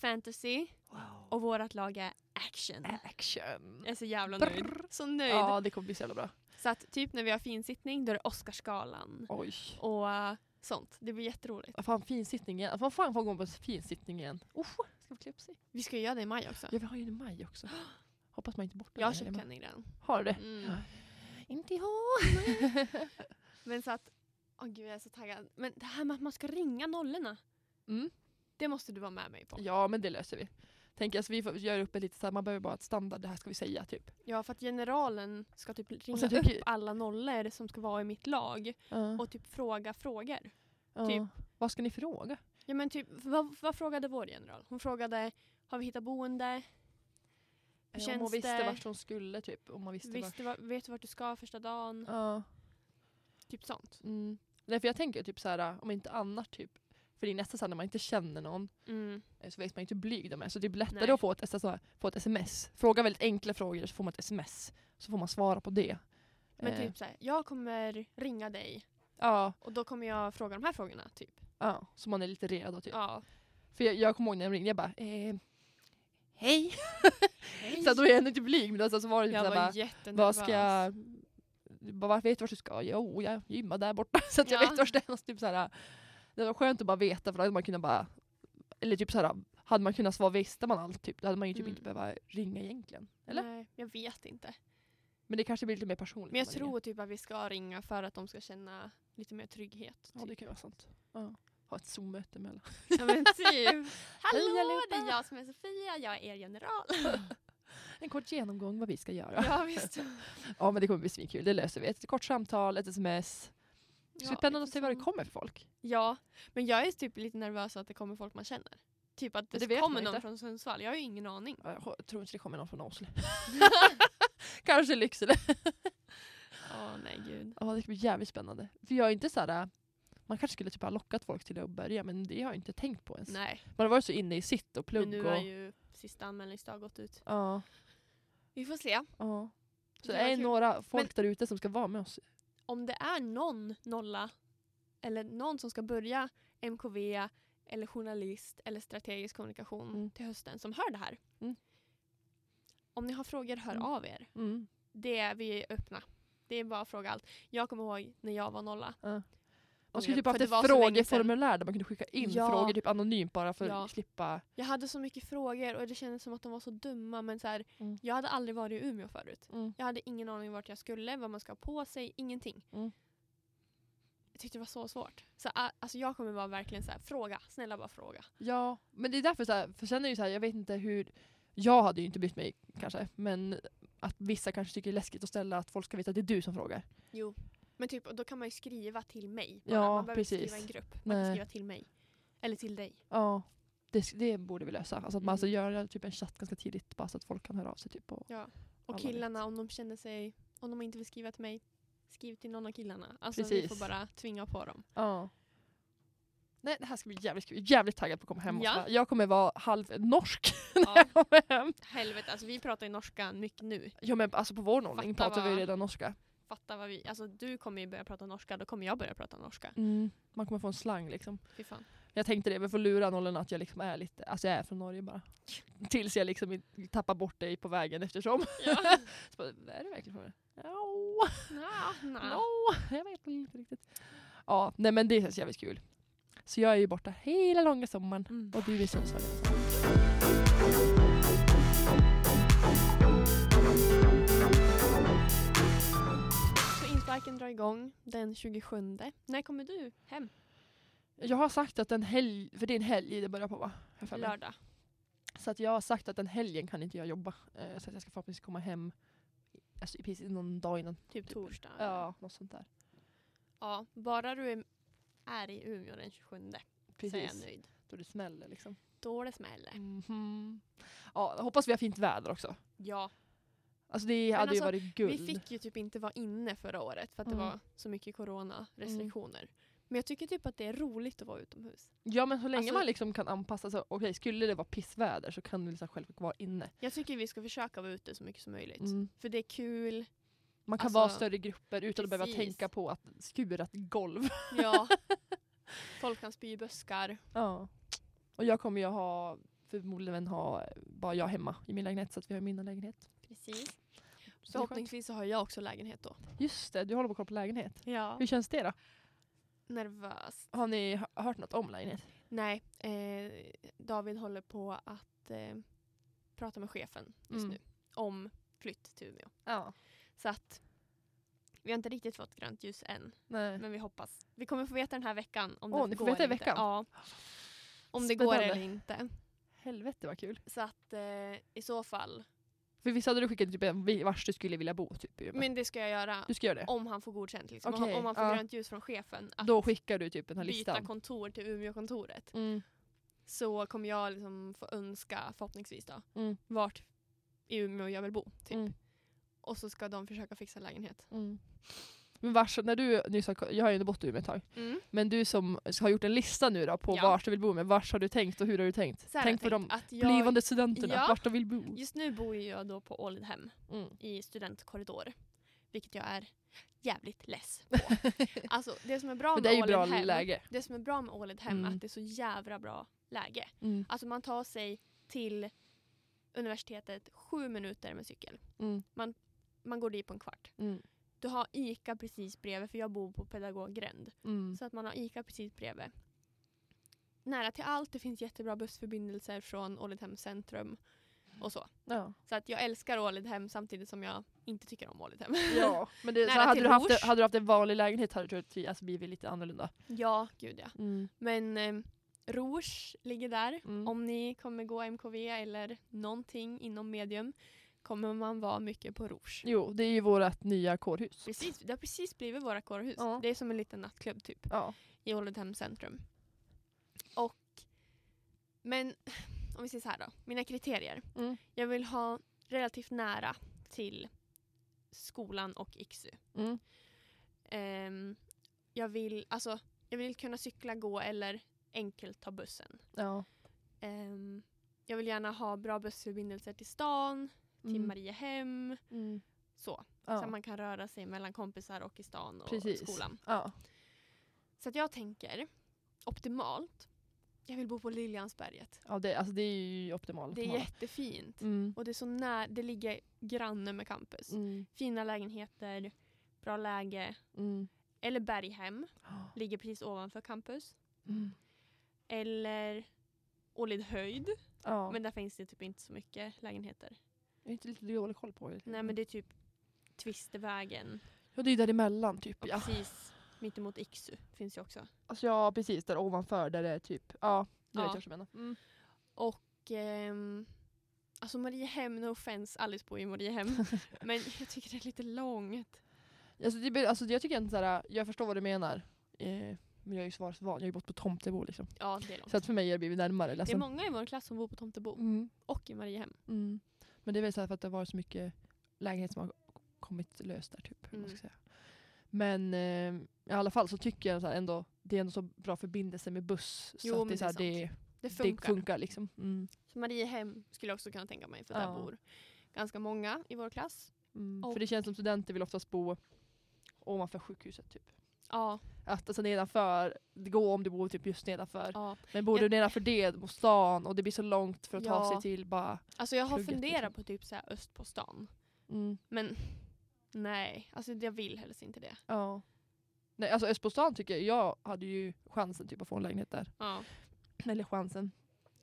Speaker 2: fantasy
Speaker 1: Wow.
Speaker 2: och vårt lag är action.
Speaker 1: Action.
Speaker 2: Jag är så jävla nöjd.
Speaker 1: Brr.
Speaker 2: Så nöjd.
Speaker 1: Ja, det kommer bli så jävla bra.
Speaker 2: Så att typ när vi har finsittning då är det Oscarsgalan
Speaker 1: Oj.
Speaker 2: och eh, sånt. Det blir jätteroligt.
Speaker 1: Vad fan finsittningen. Vad fan får gå på finsittningen? Oh, ska vi klä upp sig?
Speaker 2: Vi ska ju göra det i maj också.
Speaker 1: Ja, vi har ju den i maj också. Hoppas man inte är borta.
Speaker 2: Jag har
Speaker 1: den här
Speaker 2: köpt
Speaker 1: hemma.
Speaker 2: klänning redan.
Speaker 1: Har du det?
Speaker 2: Mm.
Speaker 1: Inte jag.
Speaker 2: Men så att, åh gud jag är så taggad. Men det här med att man ska ringa nollorna,
Speaker 1: Mm.
Speaker 2: det måste du vara med mig på.
Speaker 1: Ja, men det löser vi. Tänk, alltså, vi får göra upp ett litet så här, man behöver bara ett standard, det här ska vi säga typ.
Speaker 2: Ja, för att generalen ska typ ringa
Speaker 1: sen
Speaker 2: upp
Speaker 1: tycker-
Speaker 2: alla nollor som ska vara i mitt lag
Speaker 1: Ja,
Speaker 2: och typ fråga frågor.
Speaker 1: ja.
Speaker 2: typ.
Speaker 1: Vad ska ni fråga?
Speaker 2: Ja men typ, vad, vad frågade vår general? Hon frågade, har vi hittat boende? Hur
Speaker 1: om hon
Speaker 2: känns
Speaker 1: visste
Speaker 2: det?
Speaker 1: vart hon skulle typ. Om man visste vart.
Speaker 2: Visste, va, vet du vart du ska första dagen?
Speaker 1: Ja.
Speaker 2: Typ sånt.
Speaker 1: Mm. Nej, för jag tänker typ så här, om inte annat typ. För det är nästan så här, när man inte känner någon
Speaker 2: Mm.
Speaker 1: eh, så vet man ju inte hur blyg de är. Så det är lättare
Speaker 2: Nej.
Speaker 1: att få ett, alltså, så här, få ett sms. Fråga väldigt enkla frågor så får man ett sms. Så får man svara på det.
Speaker 2: Men
Speaker 1: Eh,
Speaker 2: typ såhär, jag kommer ringa dig
Speaker 1: Ja,
Speaker 2: och då kommer jag fråga de här frågorna. Typ.
Speaker 1: ja, så man är lite redo typ.
Speaker 2: Ja.
Speaker 1: För jag, jag kommer ihåg när de ringde, jag bara eh, Hej!
Speaker 2: Hej.
Speaker 1: Så då är jag ändå inte blyg men alltså, så var det typ
Speaker 2: Jag
Speaker 1: såhär bara,
Speaker 2: var jättenervös.
Speaker 1: vad ska jag... Bara, vet du vart du ska? Jo, jag gymmar där borta. Så att jag
Speaker 2: Ja.
Speaker 1: vet vart det är. någonstans, Typ såhär, det var skönt att bara veta för då hade man kunnat bara... Eller typ såhär, hade man kunnat svara visste man allt typ. Då hade man ju typ
Speaker 2: Mm.
Speaker 1: inte behöva ringa egentligen. Eller?
Speaker 2: Nej, jag vet inte.
Speaker 1: Men det kanske blir lite mer personligt.
Speaker 2: Men jag
Speaker 1: när man ringer.
Speaker 2: tror typ att vi ska ringa för att de ska känna lite mer trygghet.
Speaker 1: Ja, det kan vara sant. Ja. Ha ett Zoom-möte med alla.
Speaker 2: Ja men typ.
Speaker 1: Hej,
Speaker 2: Hallå,
Speaker 1: allihopa.
Speaker 2: det är jag som är Sofia, jag är er general.
Speaker 1: En kort genomgång vad vi ska göra.
Speaker 2: Ja visst.
Speaker 1: Ja, men det kommer bli svinkul. Det löser vi. Ett kort samtal, ett sms. Det ska bli
Speaker 2: Ja,
Speaker 1: spännande att
Speaker 2: lite
Speaker 1: se vad det
Speaker 2: som-
Speaker 1: kommer för folk.
Speaker 2: Ja, men jag är typ lite nervös att det kommer folk man känner. Typ att det,
Speaker 1: Det vet
Speaker 2: kommer
Speaker 1: man
Speaker 2: någon
Speaker 1: inte.
Speaker 2: från Sundsvall, jag har ju ingen aning.
Speaker 1: Ja, Jag ho- tror inte det kommer någon från Åsele. Kanske Lycksele.
Speaker 2: Åh nej gud.
Speaker 1: Ja, det ska bli jävligt spännande. För jag är inte så här. äh, Man kanske skulle typ ha lockat folk till att börja, men det har jag inte tänkt på ens.
Speaker 2: Nej,
Speaker 1: Man har varit så inne i sitt och
Speaker 2: men
Speaker 1: plugg
Speaker 2: nu
Speaker 1: och...
Speaker 2: har ju sista anmälningsdag gått ut.
Speaker 1: Ja,
Speaker 2: Vi får se.
Speaker 1: ja. Så
Speaker 2: Det
Speaker 1: det
Speaker 2: var
Speaker 1: är
Speaker 2: kul.
Speaker 1: några folk
Speaker 2: Men-
Speaker 1: där ute som ska vara med oss.
Speaker 2: Om det är någon nolla eller någon som ska börja MKV eller journalist eller strategisk kommunikation
Speaker 1: Mm.
Speaker 2: till hösten som hör det här.
Speaker 1: Mm.
Speaker 2: Om ni har frågor, hör
Speaker 1: Mm.
Speaker 2: av er.
Speaker 1: Mm.
Speaker 2: Det är vi är öppna. Det är bara att fråga allt. Jag kommer ihåg när jag var nolla.
Speaker 1: Man skulle
Speaker 2: För
Speaker 1: typ haft
Speaker 2: det
Speaker 1: ett
Speaker 2: var så länge sedan.
Speaker 1: frågeformulär där man kunde skicka in
Speaker 2: Ja.
Speaker 1: frågor typ anonymt bara för
Speaker 2: Ja.
Speaker 1: att slippa...
Speaker 2: Jag hade så mycket frågor och det kändes som att de var så dumma men så här,
Speaker 1: Mm.
Speaker 2: jag hade aldrig varit i Umeå förut. Jag hade ingen aning vart jag skulle, vad man ska ha på sig, ingenting.
Speaker 1: Mm.
Speaker 2: Jag tyckte det var så svårt. Så a- alltså jag kommer vara verkligen så här, fråga, snälla bara fråga.
Speaker 1: Ja, men det är därför så här, för sen är det ju så här, jag vet inte hur, jag hade ju inte brytt mig kanske, men att vissa kanske tycker det är läskigt att ställa att folk ska veta att det är du som frågar.
Speaker 2: Jo. Men typ, och då kan man ju skriva till mig. Bara.
Speaker 1: Ja,
Speaker 2: man behöver inte skriva i en
Speaker 1: precis.
Speaker 2: grupp. Man kan
Speaker 1: Nej.
Speaker 2: skriva till mig. Eller till dig.
Speaker 1: Ja, det, det borde vi lösa. Alltså att
Speaker 2: Mm.
Speaker 1: man alltså gör typ en chatt ganska tidigt bara så att folk kan höra av sig. Typ, och,
Speaker 2: Ja. Och
Speaker 1: Alla vet.
Speaker 2: killarna om de känner sig, om de inte vill skriva till mig, Skriv till någon av killarna. Alltså vi
Speaker 1: Precis.
Speaker 2: får bara tvinga på dem.
Speaker 1: Ja. Nej, det här ska bli jävligt kul. Jag är jävligt taggad på att komma hem. och
Speaker 2: Ja.
Speaker 1: sådär. Jag kommer vara halvnorsk när
Speaker 2: Ja,
Speaker 1: jag kommer hem.
Speaker 2: helvete, alltså vi pratar ju norska mycket nu.
Speaker 1: Ja men alltså på vår nollning
Speaker 2: Fatta
Speaker 1: pratar vi ju
Speaker 2: vad-
Speaker 1: redan norska.
Speaker 2: Fatta vad vi, alltså du kommer ju börja prata norska, då kommer jag börja prata norska.
Speaker 1: Man kommer få en slang liksom.
Speaker 2: Fy fan.
Speaker 1: Jag tänkte det, vi får lura nollorna att jag liksom är lite, alltså jag är från Norge bara. Tills jag liksom in- tappar bort dig på vägen eftersom.
Speaker 2: Ja.
Speaker 1: Så bara, är du verkligen från det? Ja,
Speaker 2: Nja, nja.
Speaker 1: no, jag vet inte riktigt. Ja, nej men det känns jävligt kul. Så jag är ju borta hela långa sommaren.
Speaker 2: Mm.
Speaker 1: Och du är i Sundsvall.
Speaker 2: Så insparken drar igång den 27. När kommer du hem?
Speaker 1: Jag har sagt att en helg, för det är en helg det börjar på va? Har jag för mig.
Speaker 2: Lördag.
Speaker 1: Så att jag har sagt att den helgen kan inte jag jobba. Eh, så att jag ska förhoppningsvis komma hem alltså, i precis någon dag innan.
Speaker 2: Typ torsdag.
Speaker 1: Ja, något sånt där.
Speaker 2: ja. Bara du är, är i Umeå den 27 så är jag
Speaker 1: Precis.
Speaker 2: nöjd.
Speaker 1: Då det smäller liksom.
Speaker 2: Då det smäller.
Speaker 1: Mhm. Ja, jag hoppas vi har fint väder också.
Speaker 2: Ja.
Speaker 1: Alltså det hade ju
Speaker 2: alltså,
Speaker 1: varit guld.
Speaker 2: Vi fick ju typ inte vara inne förra året för att det
Speaker 1: Mm.
Speaker 2: var så mycket coronarestriktioner. Men jag tycker typ att det är roligt att vara utomhus.
Speaker 1: Ja men så länge
Speaker 2: Alltså-
Speaker 1: man liksom kan anpassa sig. Okej, skulle det vara pissväder så kan vi liksom själv vara inne.
Speaker 2: Jag tycker vi ska försöka vara ute så mycket som möjligt.
Speaker 1: Mm.
Speaker 2: För det är kul.
Speaker 1: Man kan
Speaker 2: Alltså,
Speaker 1: vara större grupper utan att behöva
Speaker 2: precis.
Speaker 1: tänka på att skurat golv.
Speaker 2: Ja. Folk kan spy i buskar.
Speaker 1: Ja. Och jag kommer ju ha, förmodligen ha bara jag hemma i min lägenhet så att vi har min lägenhet.
Speaker 2: Precis.
Speaker 1: Så
Speaker 2: Förhoppningsvis så har jag också lägenhet då.
Speaker 1: Just det, du håller på att kolla på lägenhet.
Speaker 2: Ja.
Speaker 1: Hur känns det då?
Speaker 2: Nervös.
Speaker 1: Har ni hö- hört något om lägenhet?
Speaker 2: Nej, eh, David håller på att eh, prata med chefen just
Speaker 1: Mm.
Speaker 2: nu om flytt till Umeå.
Speaker 1: Ja.
Speaker 2: Så att vi har inte riktigt fått grönt ljus än,
Speaker 1: Nej.
Speaker 2: men vi hoppas. Vi kommer få veta den här veckan om
Speaker 1: Åh,
Speaker 2: det
Speaker 1: ni får
Speaker 2: går
Speaker 1: veta i
Speaker 2: eller
Speaker 1: veckan?
Speaker 2: Inte. Ja. Om det går
Speaker 1: Spännande.
Speaker 2: eller inte.
Speaker 1: Helvete vad kul.
Speaker 2: Så att eh, i så fall.
Speaker 1: För visst hade du skickat typ en vi- vars du skulle vilja bo? Typ, i Umeå?
Speaker 2: Men det ska jag göra
Speaker 1: du ska göra det?
Speaker 2: om han får godkänt. Liksom. Om han-
Speaker 1: Okej,
Speaker 2: om han får
Speaker 1: ja.
Speaker 2: grönt ljus från chefen att
Speaker 1: Då skickar du typ den här
Speaker 2: byta
Speaker 1: listan?
Speaker 2: kontor till Umeåkontoret.
Speaker 1: Mm.
Speaker 2: så kommer jag liksom få önska förhoppningsvis då
Speaker 1: Mm.
Speaker 2: vart i Umeå jag vill bo. Typ.
Speaker 1: Mm.
Speaker 2: Och så ska de försöka fixa lägenhet.
Speaker 1: Mm. Men vars, när du nyss har, jag har ju inte bott i Umeå ett tag, men du som har gjort en lista nu då på
Speaker 2: Ja.
Speaker 1: vars du vill bo med, vars har du tänkt och hur har du tänkt?
Speaker 2: Så här har
Speaker 1: Tänk
Speaker 2: jag
Speaker 1: på de
Speaker 2: att jag,
Speaker 1: blivande studenterna,
Speaker 2: Ja.
Speaker 1: vart de vill bo.
Speaker 2: Just nu bor ju jag då på Ålidhem
Speaker 1: Mm.
Speaker 2: i studentkorridor. Vilket jag är jävligt less på. alltså det som är bra
Speaker 1: Men
Speaker 2: med
Speaker 1: det är ju bra
Speaker 2: Ålidhem-
Speaker 1: läge.
Speaker 2: Det som är bra med Ålidhem är
Speaker 1: Mm.
Speaker 2: att det är så jävla bra läge.
Speaker 1: Mm.
Speaker 2: Alltså man tar sig till universitetet sju minuter med cykel.
Speaker 1: Mm.
Speaker 2: Man går dit på en kvart.
Speaker 1: Mm.
Speaker 2: Du har ICA precis bredvid för jag bor på Pedagoggränd.
Speaker 1: Mm.
Speaker 2: Så att man har ICA precis bredvid. Nära till allt, det finns jättebra bussförbindelser från Ålidhem centrum och så.
Speaker 1: Ja.
Speaker 2: Så att jag älskar Ålidhem samtidigt som jag inte tycker om Ålidhem.
Speaker 1: ja, men det, så
Speaker 2: Nära
Speaker 1: här, hade,
Speaker 2: till
Speaker 1: du haft,
Speaker 2: Rouge.
Speaker 1: hade du haft en vanlig lägenhet hade du tror jag, alltså, blivit lite annorlunda.
Speaker 2: ja, gud ja.
Speaker 1: Mm.
Speaker 2: Men eh, Rouge ligger där.
Speaker 1: Mm.
Speaker 2: Om ni kommer gå MKV eller någonting inom medium kommer man vara mycket på Rouge.
Speaker 1: Jo, det är ju vårt nya kårhus.
Speaker 2: Precis, det har precis blivit våra kårhus.
Speaker 1: Ja.
Speaker 2: Det är som en liten nattklubb typ.
Speaker 1: Ja.
Speaker 2: i Ålidhem centrum. Och, men om vi säger så här då, mina kriterier.
Speaker 1: Mm.
Speaker 2: Jag vill ha relativt nära till skolan och IKSU.
Speaker 1: Mm.
Speaker 2: Ehm, jag, vill, alltså, jag vill kunna cykla, gå eller enkelt ta bussen.
Speaker 1: ja.
Speaker 2: Ehm, jag vill gärna ha bra bussförbindelser till stan, till
Speaker 1: Mm.
Speaker 2: Mariehem,
Speaker 1: Mm.
Speaker 2: så. Så
Speaker 1: Ja.
Speaker 2: att man kan röra sig mellan kompisar och i stan och
Speaker 1: Precis.
Speaker 2: skolan.
Speaker 1: Ja.
Speaker 2: Så att jag tänker, optimalt, jag vill bo på Liljansberget.
Speaker 1: Ja, det, alltså, det är ju optimalt.
Speaker 2: Det är
Speaker 1: mål.
Speaker 2: jättefint.
Speaker 1: mm.
Speaker 2: Och det är så nära, det ligger granne med campus.
Speaker 1: Mm.
Speaker 2: Fina lägenheter, bra läge.
Speaker 1: Mm.
Speaker 2: Eller Berghem,
Speaker 1: Ja.
Speaker 2: ligger precis ovanför campus.
Speaker 1: Mm.
Speaker 2: Eller Ålidhöjd,
Speaker 1: Ja.
Speaker 2: men där finns det typ inte så mycket lägenheter.
Speaker 1: Jag har inte lite dålig koll på det.
Speaker 2: Nej men det är typ Twistervägen
Speaker 1: Ja, det är ju däremellan typ.
Speaker 2: och
Speaker 1: Ja.
Speaker 2: precis mittemot Iksu finns ju också.
Speaker 1: Alltså, ja, precis. Där ovanför där det är typ, ja, nu
Speaker 2: Ja.
Speaker 1: vet jag vad du menar. Mm.
Speaker 2: Och ehm, alltså Mariehem, no offense, Alice bor ju i Mariehem. men jag tycker det är lite långt.
Speaker 1: Alltså, det, blir- alltså, jag tycker inte såhär, jag förstår vad du menar. Eh, men jag är ju svarsvan, jag har ju bott på Tomtebo liksom.
Speaker 2: Ja, det är långt.
Speaker 1: Så att för mig har det blivit närmare. Alltså.
Speaker 2: Det är många i vår klass som bor på Tomtebo
Speaker 1: mm.
Speaker 2: och i Mariehem.
Speaker 1: Mm. Men det är väl så här för att det har varit så mycket lägenheter som har kommit löst där typ. hur man
Speaker 2: Mm.
Speaker 1: ska säga. Men eh, i alla fall så tycker jag så här ändå, det är ändå så bra förbindelse med buss. Så
Speaker 2: Jo,
Speaker 1: att
Speaker 2: men
Speaker 1: det, är så här,
Speaker 2: det är
Speaker 1: det,
Speaker 2: Det
Speaker 1: det
Speaker 2: funkar.
Speaker 1: funkar liksom. Mm.
Speaker 2: Så Mariehem skulle jag också kunna tänka mig för
Speaker 1: Ja.
Speaker 2: där bor ganska många i vår klass.
Speaker 1: Mm.
Speaker 2: Och-
Speaker 1: För det känns som studenter vill oftast bo ovanför sjukhuset typ.
Speaker 2: Ja,
Speaker 1: Att alltså nedanför, det går om du bor typ just nedanför.
Speaker 2: ja.
Speaker 1: Men bor du
Speaker 2: Jag-
Speaker 1: nedanför det, mot stan och det blir så långt för att ta
Speaker 2: Ja.
Speaker 1: sig till bara.
Speaker 2: Alltså jag har
Speaker 1: Plugget,
Speaker 2: funderat
Speaker 1: liksom.
Speaker 2: på typ så här öst på stan.
Speaker 1: Mm.
Speaker 2: Men nej, alltså jag vill helst inte det.
Speaker 1: Ja. Nej, alltså Östbostan tycker jag, jag hade ju chansen typ att få en lägenhet där.
Speaker 2: Ja.
Speaker 1: Eller chansen.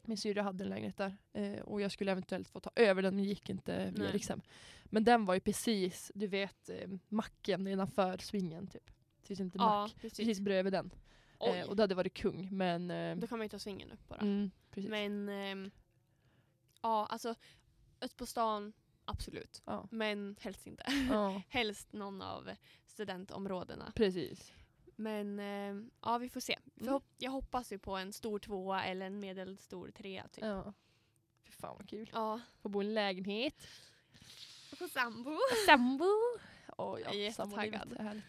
Speaker 1: Min syrra hade en lägenhet där eh, och jag skulle eventuellt få ta över den men gick inte via
Speaker 2: Nej.
Speaker 1: Rikshem. Men den var ju precis, du vet, eh, macken nedanför svingen typ. Det finns inte
Speaker 2: ja,
Speaker 1: mack.
Speaker 2: precis.
Speaker 1: Precis bredvid den.
Speaker 2: Oj,
Speaker 1: Eh, och det hade varit kung men... Eh,
Speaker 2: då kan man ju ta svingen upp bara.
Speaker 1: mm, precis.
Speaker 2: Men ehm, ja, alltså öst på stan, absolut.
Speaker 1: Ja.
Speaker 2: Men helst inte.
Speaker 1: ja,
Speaker 2: Helst någon av studentområdena.
Speaker 1: precis.
Speaker 2: Men ehm, ja, vi får se.
Speaker 1: Mm.
Speaker 2: Förhopp- jag hoppas ju på en stor tvåa eller en medelstor trea typ.
Speaker 1: Ja. Fy fan vad kul.
Speaker 2: Ja.
Speaker 1: Få bo i en lägenhet.
Speaker 2: På sambo.
Speaker 1: Sambo. Åh
Speaker 2: Jag är
Speaker 1: ja,
Speaker 2: jättetaggad.
Speaker 1: sambolivet är härligt.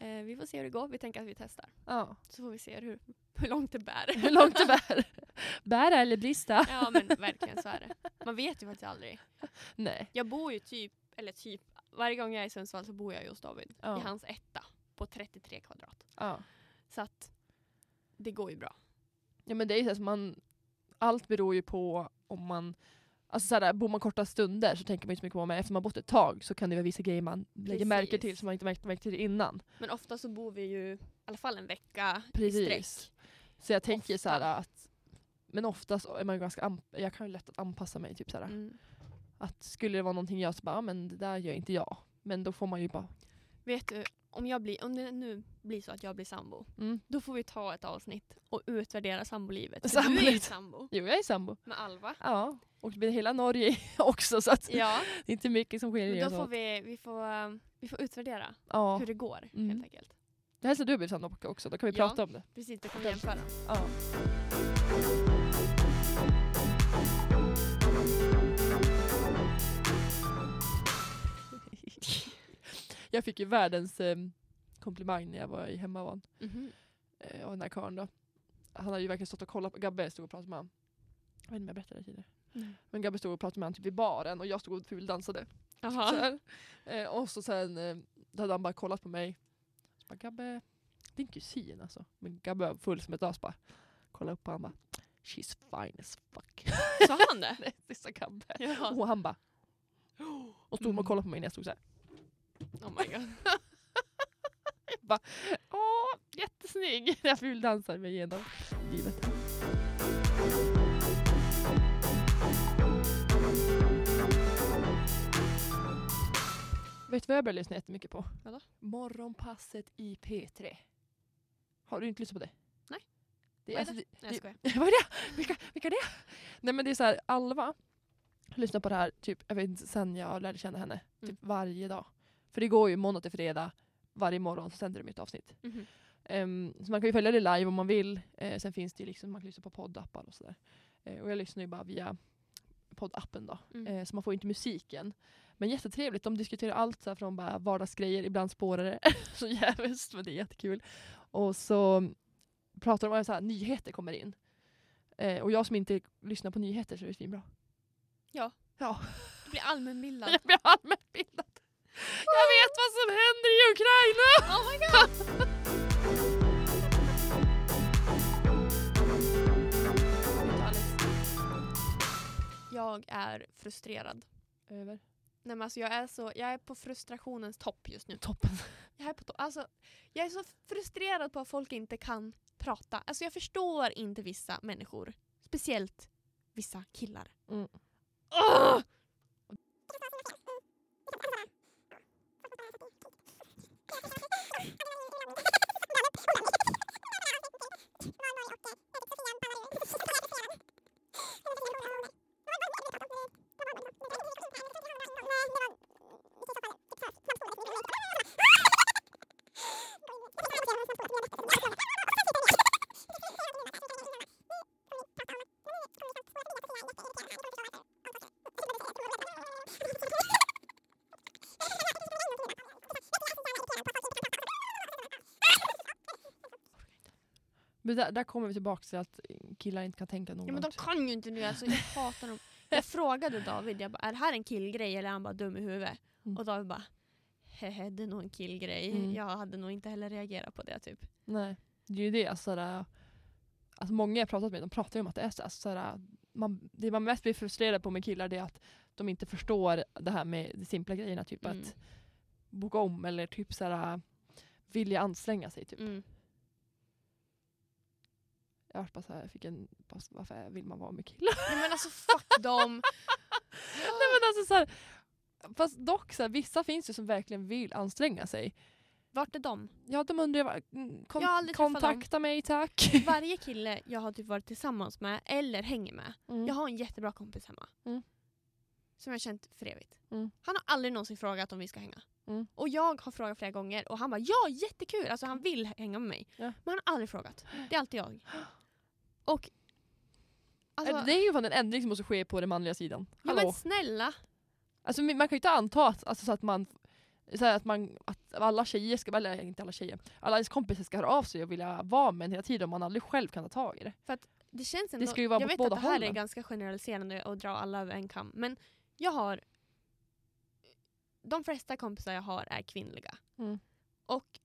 Speaker 2: Eh, vi får se hur det går. Vi tänker att vi testar.
Speaker 1: Ja.
Speaker 2: Så får vi se hur, hur långt det bär.
Speaker 1: Hur långt det bär. Bära eller brista?
Speaker 2: Ja men verkligen så är det. Man vet ju faktiskt aldrig.
Speaker 1: Nej.
Speaker 2: Jag bor ju typ, eller typ, varje gång jag är i Sundsvall så bor jag just David.
Speaker 1: Ja.
Speaker 2: I hans etta på 33 kvadrat.
Speaker 1: Ja.
Speaker 2: Så att det går ju bra.
Speaker 1: ja men det är ju så här, som man, allt beror ju på om man Alltså såhär, bor man korta stunder så tänker man inte så mycket på det, men efter man bott ett tag så kan det vara vissa grejer man lägger
Speaker 2: Precis.
Speaker 1: märke till som man inte märkt märkt till innan.
Speaker 2: Men ofta så bor vi ju i alla fall en vecka i
Speaker 1: Precis.
Speaker 2: sträck.
Speaker 1: Så jag tänker
Speaker 2: Ofta.
Speaker 1: så här att, men oftast är man ju ganska, anp- jag kan ju lätt att anpassa mig. Typ så här,
Speaker 2: Mm.
Speaker 1: att skulle det vara någonting jag så bara, "Ja, men det där gör inte jag. Men då får man ju bara,
Speaker 2: Vet du, om, jag blir, om det nu blir så att jag blir sambo,
Speaker 1: mm,
Speaker 2: då får vi ta ett avsnitt och utvärdera sambolivet. För du är ju
Speaker 1: Samboligt.
Speaker 2: sambo
Speaker 1: jo jag är sambo.
Speaker 2: med Alva.
Speaker 1: Ja, och det blir hela Norge också så att
Speaker 2: Ja,
Speaker 1: det är inte mycket som skiljer
Speaker 2: men
Speaker 1: oss
Speaker 2: då får
Speaker 1: åt.
Speaker 2: vi, vi, får, eh, vi får utvärdera
Speaker 1: Ja.
Speaker 2: hur det går
Speaker 1: Mm.
Speaker 2: helt enkelt.
Speaker 1: Det här ser du blir samma också, då kan vi
Speaker 2: Ja.
Speaker 1: prata om det.
Speaker 2: Precis, då kan vi jämföra.
Speaker 1: Ja. Jag fick ju världens eh, komplimang när jag var i hemmavan eh, av den här karln då. Han hade ju verkligen stått och kollat på, Gabbe stod och pratade med honom. Jag vet inte om jag berättade det tidigare.
Speaker 2: Mm.
Speaker 1: Men Gabbe stod och pratade med honom typ vid baren och jag stod och fuldansade. Så
Speaker 2: Jaha.
Speaker 1: här. Eh, och så sen eh, då hade han bara kollat på mig. Så bara, Gabbe, din kusin alltså. Men Gabbe var full som ett as bara. Kolla upp på honom bara. She's fine as fuck.
Speaker 2: Sa han det?
Speaker 1: det sa Gabbe.
Speaker 2: Ja.
Speaker 1: Och han bara. Och stod
Speaker 2: Mm.
Speaker 1: och kollade på mig när jag stod så här.
Speaker 2: Oh my god.
Speaker 1: Åh, jättesnygg. Jag fulldansade mig igenom livet. Vet du vad jag börjar lyssna jättemycket på?
Speaker 2: Vadå?
Speaker 1: Morgonpasset i P3. Har du inte lyssnat på det?
Speaker 2: Nej.
Speaker 1: Det,
Speaker 2: Vad är
Speaker 1: alltså, det,
Speaker 2: Nej, jag skojar.
Speaker 1: vad är det? Vilka, vilka är det? Nej men det är så här, Alva lyssnar på det här typ, jag vet inte, sen jag lärde känna henne.
Speaker 2: Mm.
Speaker 1: Typ varje dag. För det går ju måndag till fredag varje morgon så sänder de ett avsnitt.
Speaker 2: Mhm.
Speaker 1: Ehm, så man kan ju följa det live om man vill. Eh, sen finns det ju liksom, man kan lyssna på poddappar och sådär. Eh, och jag lyssnar ju bara via poddappen då.
Speaker 2: Mm.
Speaker 1: Eh, så man får ju inte musiken. Men jättetrevligt, de diskuterar allt så här från bara vardagsgrejer, ibland spårare. så jävligt, men det är jättekul. Och så pratar de om så här, nyheter kommer in. Eh, och jag som inte lyssnar på nyheter så är det svinbra.
Speaker 2: Ja.
Speaker 1: Ja.
Speaker 2: Du blir allmänbildad.
Speaker 1: Jag blir allmänbildad. Jag vet vad som händer i Ukraina!
Speaker 2: Oh my god! Jag är frustrerad.
Speaker 1: Över.
Speaker 2: Nej, men alltså jag, är så, jag är på frustrationens topp just nu.
Speaker 1: Toppen.
Speaker 2: Jag är, på to- alltså, jag är så frustrerad på att folk inte kan prata. Alltså jag förstår inte vissa människor. Speciellt vissa killar.
Speaker 1: Mm.
Speaker 2: Åh!
Speaker 3: Thank you.
Speaker 1: Men där, där kommer vi tillbaka till att killar inte kan tänka
Speaker 2: Ja, men de
Speaker 1: noggrant.
Speaker 2: kan ju inte nu alltså, jag hatar dem. Jag frågade David, jag bara, är det här en killgrej eller är han bara dum i huvudet?
Speaker 1: Mm.
Speaker 2: Och David bara, hehe det är nog en killgrej.
Speaker 1: Mm.
Speaker 2: Jag hade nog inte heller reagerat på det typ.
Speaker 1: Nej, det är ju det. Alltså, såhär, alltså, många jag pratat med de pratar ju om att det är så. Alltså, såhär, man, det man mest blir frustrerad på med killar det är att de inte förstår det här med de simpla grejerna. Typ
Speaker 2: Mm.
Speaker 1: att boka om eller typ såhär, vilja anstränga sig. Typ.
Speaker 2: Mm.
Speaker 1: Jag vart bara såhär, jag fick en, bara, varför vill man vara med killar?
Speaker 2: Nej men alltså fuck dem.
Speaker 1: Nej, men alltså, såhär, fast dock, såhär, vissa finns ju som verkligen vill anstränga sig.
Speaker 2: Vart är de?
Speaker 1: Ja, de undrar, ju, mm, kon-
Speaker 2: Jag har aldrig träffat dem.
Speaker 1: kontakta mig tack.
Speaker 2: Varje kille jag har typ varit tillsammans med eller hänger med.
Speaker 1: Mm.
Speaker 2: Jag har en jättebra kompis hemma.
Speaker 1: Mm.
Speaker 2: Som jag har känt för evigt.
Speaker 1: Mm.
Speaker 2: Han har aldrig någonsin frågat om vi ska hänga.
Speaker 1: Mm.
Speaker 2: Och jag har frågat flera gånger och han bara ja jättekul, alltså han vill hänga med mig.
Speaker 1: Ja.
Speaker 2: Men han har aldrig frågat. Det är alltid jag. Och alltså,
Speaker 1: Alltså, det är ju fan en ändring som måste ske på den manliga sidan.
Speaker 2: ja,
Speaker 1: Hallå.
Speaker 2: men snälla.
Speaker 1: Alltså, men man kan ju inte anta att, alltså, så att, man, så här, att, man, att alla tjejer, ska, eller inte alla tjejer, alla ens kompisar ska höra av sig och vilja vara med en hela tiden om man aldrig själv kan ta tag i det.
Speaker 2: Det känns ändå,
Speaker 1: ska ju vara
Speaker 2: jag
Speaker 1: åt
Speaker 2: vet
Speaker 1: båda
Speaker 2: att det här är
Speaker 1: hållen.
Speaker 2: ganska generaliserande att dra alla över en kam. Men jag har... De flesta kompisar jag har är kvinnliga.
Speaker 1: Mm.
Speaker 2: Och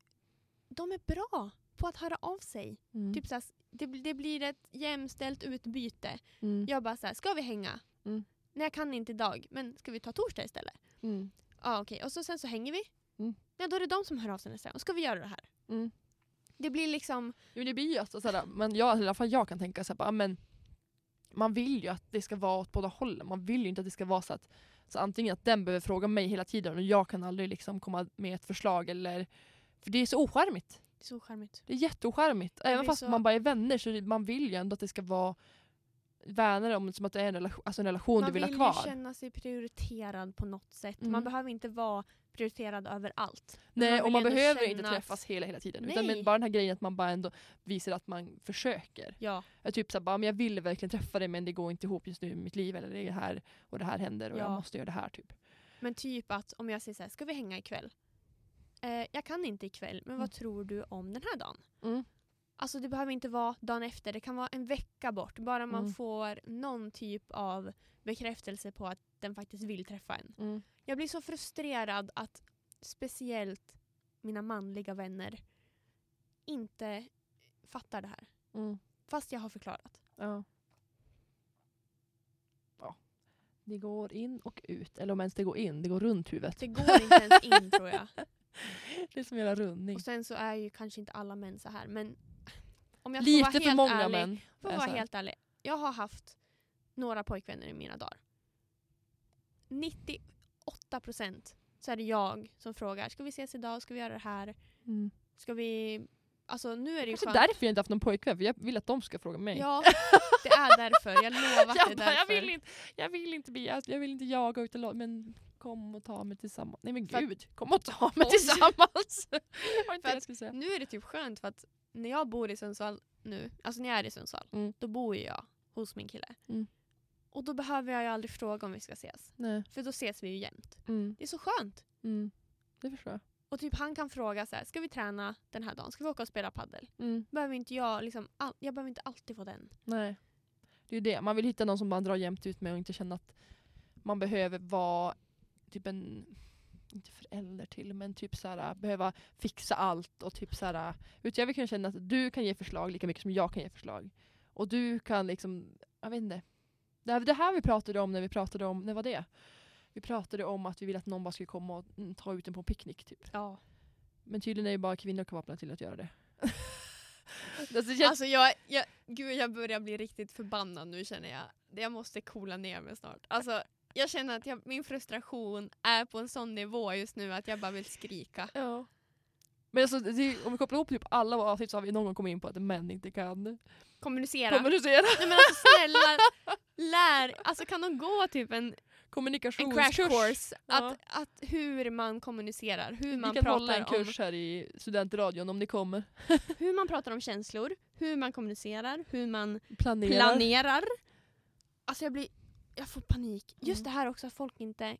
Speaker 2: de är bra på att höra av sig.
Speaker 1: Mm.
Speaker 2: Typ såhär, det, bl- det blir ett jämställt utbyte.
Speaker 1: Mm.
Speaker 2: Jag bara såhär, ska vi hänga?
Speaker 1: Mm.
Speaker 2: Nej jag kan inte idag, men ska vi ta torsdag istället?
Speaker 1: Mm.
Speaker 2: Ja okej, och så, sen så hänger vi.
Speaker 1: Mm.
Speaker 2: Ja, då är det de som hör av sig nästa gång. Ska vi göra det här?
Speaker 1: Mm.
Speaker 2: Det blir liksom,
Speaker 1: Jo, men det blir ju alltså, såhär, men jag, i alla fall jag kan tänka såhär, bara, men man vill ju att det ska vara åt båda hållen. Man vill ju inte att det ska vara så att så antingen att den behöver fråga mig hela tiden och jag kan aldrig liksom komma med ett förslag eller för det är så ocharmigt.
Speaker 2: det är så charmigt.
Speaker 1: Det är jätteocharmigt. Även
Speaker 2: blir
Speaker 1: fast
Speaker 2: så-
Speaker 1: man bara är vänner så det- man vill ju ändå att det ska vara vänner om som att det är en relation, alltså en relation
Speaker 2: Man
Speaker 1: du vill,
Speaker 2: ju
Speaker 1: ha kvar.
Speaker 2: känna sig prioriterad på något sätt.
Speaker 1: Mm.
Speaker 2: Man behöver inte vara prioriterad överallt.
Speaker 1: Nej,
Speaker 2: man
Speaker 1: och
Speaker 2: vill
Speaker 1: man
Speaker 2: ändå
Speaker 1: behöver
Speaker 2: känna
Speaker 1: inte
Speaker 2: att-
Speaker 1: träffas hela, hela tiden. Utan
Speaker 2: Nej.
Speaker 1: men bara den här grejen att man bara ändå visar att man försöker.
Speaker 2: Ja,
Speaker 1: Jag typ såhär, bara, men jag ville verkligen träffa dig men det går inte ihop just nu i mitt liv. Eller det är här och det här händer och jag
Speaker 2: Ja.
Speaker 1: måste göra det här typ.
Speaker 2: men typ att om jag säger såhär, ska vi hänga ikväll? Eh, jag kan inte ikväll, men
Speaker 1: Mm.
Speaker 2: vad tror du om den här dagen?
Speaker 1: Mm.
Speaker 2: Alltså det behöver inte vara dagen efter, det kan vara en vecka bort. Bara man
Speaker 1: Mm.
Speaker 2: får någon typ av bekräftelse på att den faktiskt vill träffa en. Jag blir så frustrerad att speciellt mina manliga vänner inte fattar det här. Fast jag har förklarat.
Speaker 1: Ja. ja. Det går in och ut. Eller om ens det går in, det går runt huvudet.
Speaker 2: Det går inte ens in tror jag.
Speaker 1: Det är som en jävla rundning.
Speaker 2: Och sen så är ju kanske inte alla män så här men om jag får vara
Speaker 1: Lite för
Speaker 2: helt
Speaker 1: många
Speaker 2: ärlig,
Speaker 1: män.
Speaker 2: Får
Speaker 1: är
Speaker 2: vara
Speaker 1: så här.
Speaker 2: helt ärlig. Jag har haft några pojkvänner i mina dagar. 98 procent så är det jag som frågar. Ska vi ses idag? Ska vi göra det här?
Speaker 1: Mm.
Speaker 2: Ska vi... Alltså nu är det ju
Speaker 1: Kanske
Speaker 2: skönt.
Speaker 1: därför jag inte haft någon pojkvän, för jag vill att de ska fråga mig.
Speaker 2: Ja, det är därför. Jag lovar att det är
Speaker 1: jag, bara,
Speaker 2: därför.
Speaker 1: jag, vill inte, jag vill inte bli, jag vill inte jaga ut och låta, men kom och ta mig tillsammans. Nej men
Speaker 2: För att-
Speaker 1: gud, kom och ta mig
Speaker 2: Oj.
Speaker 1: tillsammans! Det var inte
Speaker 2: För
Speaker 1: det
Speaker 2: att-
Speaker 1: jag skulle säga.
Speaker 2: Nu är det typ skönt för att när jag bor i Sundsvall nu, alltså när jag är i Sundsvall,
Speaker 1: Mm.
Speaker 2: då bor ju jag hos min kille.
Speaker 1: Mm.
Speaker 2: Och då behöver jag ju aldrig fråga om vi ska ses.
Speaker 1: Nej.
Speaker 2: För då ses vi ju jämt.
Speaker 1: Mm,
Speaker 2: Det är så skönt.
Speaker 1: mm. Det förstår jag.
Speaker 2: Och typ han kan fråga så här, ska vi träna den här dagen? Ska vi åka och spela paddel?
Speaker 1: Mm.
Speaker 2: Behöver inte jag liksom, all- jag behöver inte alltid få den.
Speaker 1: Nej. Det är ju det, man vill hitta någon som man drar jämnt ut med och inte känna att man behöver vara typ en, inte förälder till, men typ såhär behöva fixa allt och typ såhär, utan jag vill kunna känna att du kan ge förslag lika mycket som jag kan ge förslag. Och du kan liksom, jag vet inte. Det här, det här vi pratade om när vi pratade om, när var det? Vi pratade om att vi ville att någon bara skulle komma och mm, ta ut en på en picknick typ.
Speaker 2: Ja.
Speaker 1: Men tydligen är ju bara kvinnor kapabla till att göra det. alltså, det känns
Speaker 2: Alltså jag, jag, gud jag börjar bli riktigt förbannad nu känner jag. Jag måste coola ner mig snart. Alltså jag känner att jag, min frustration är på en sån nivå just nu att jag bara vill skrika.
Speaker 1: Ja. Men alltså, det, om vi kopplar ihop typ alla våra avsnitt så har vi någon gång kommit in på att män inte kan
Speaker 2: Kommunicera.
Speaker 1: kommunicera.
Speaker 2: Nej men alltså snälla, lär, alltså kan de gå typ en, en
Speaker 1: Kommunikationskurs.
Speaker 2: crash course?
Speaker 1: Ja.
Speaker 2: Att, att hur man kommunicerar, hur man
Speaker 1: vi kan hålla
Speaker 2: pratar
Speaker 1: en
Speaker 2: om
Speaker 1: kurs här i studentradion om ni kommer.
Speaker 2: hur man pratar om känslor, hur man kommunicerar, hur man
Speaker 1: Planera.
Speaker 2: planerar. Alltså jag blir, jag får panik. Just
Speaker 1: Mm.
Speaker 2: det här också att folk inte,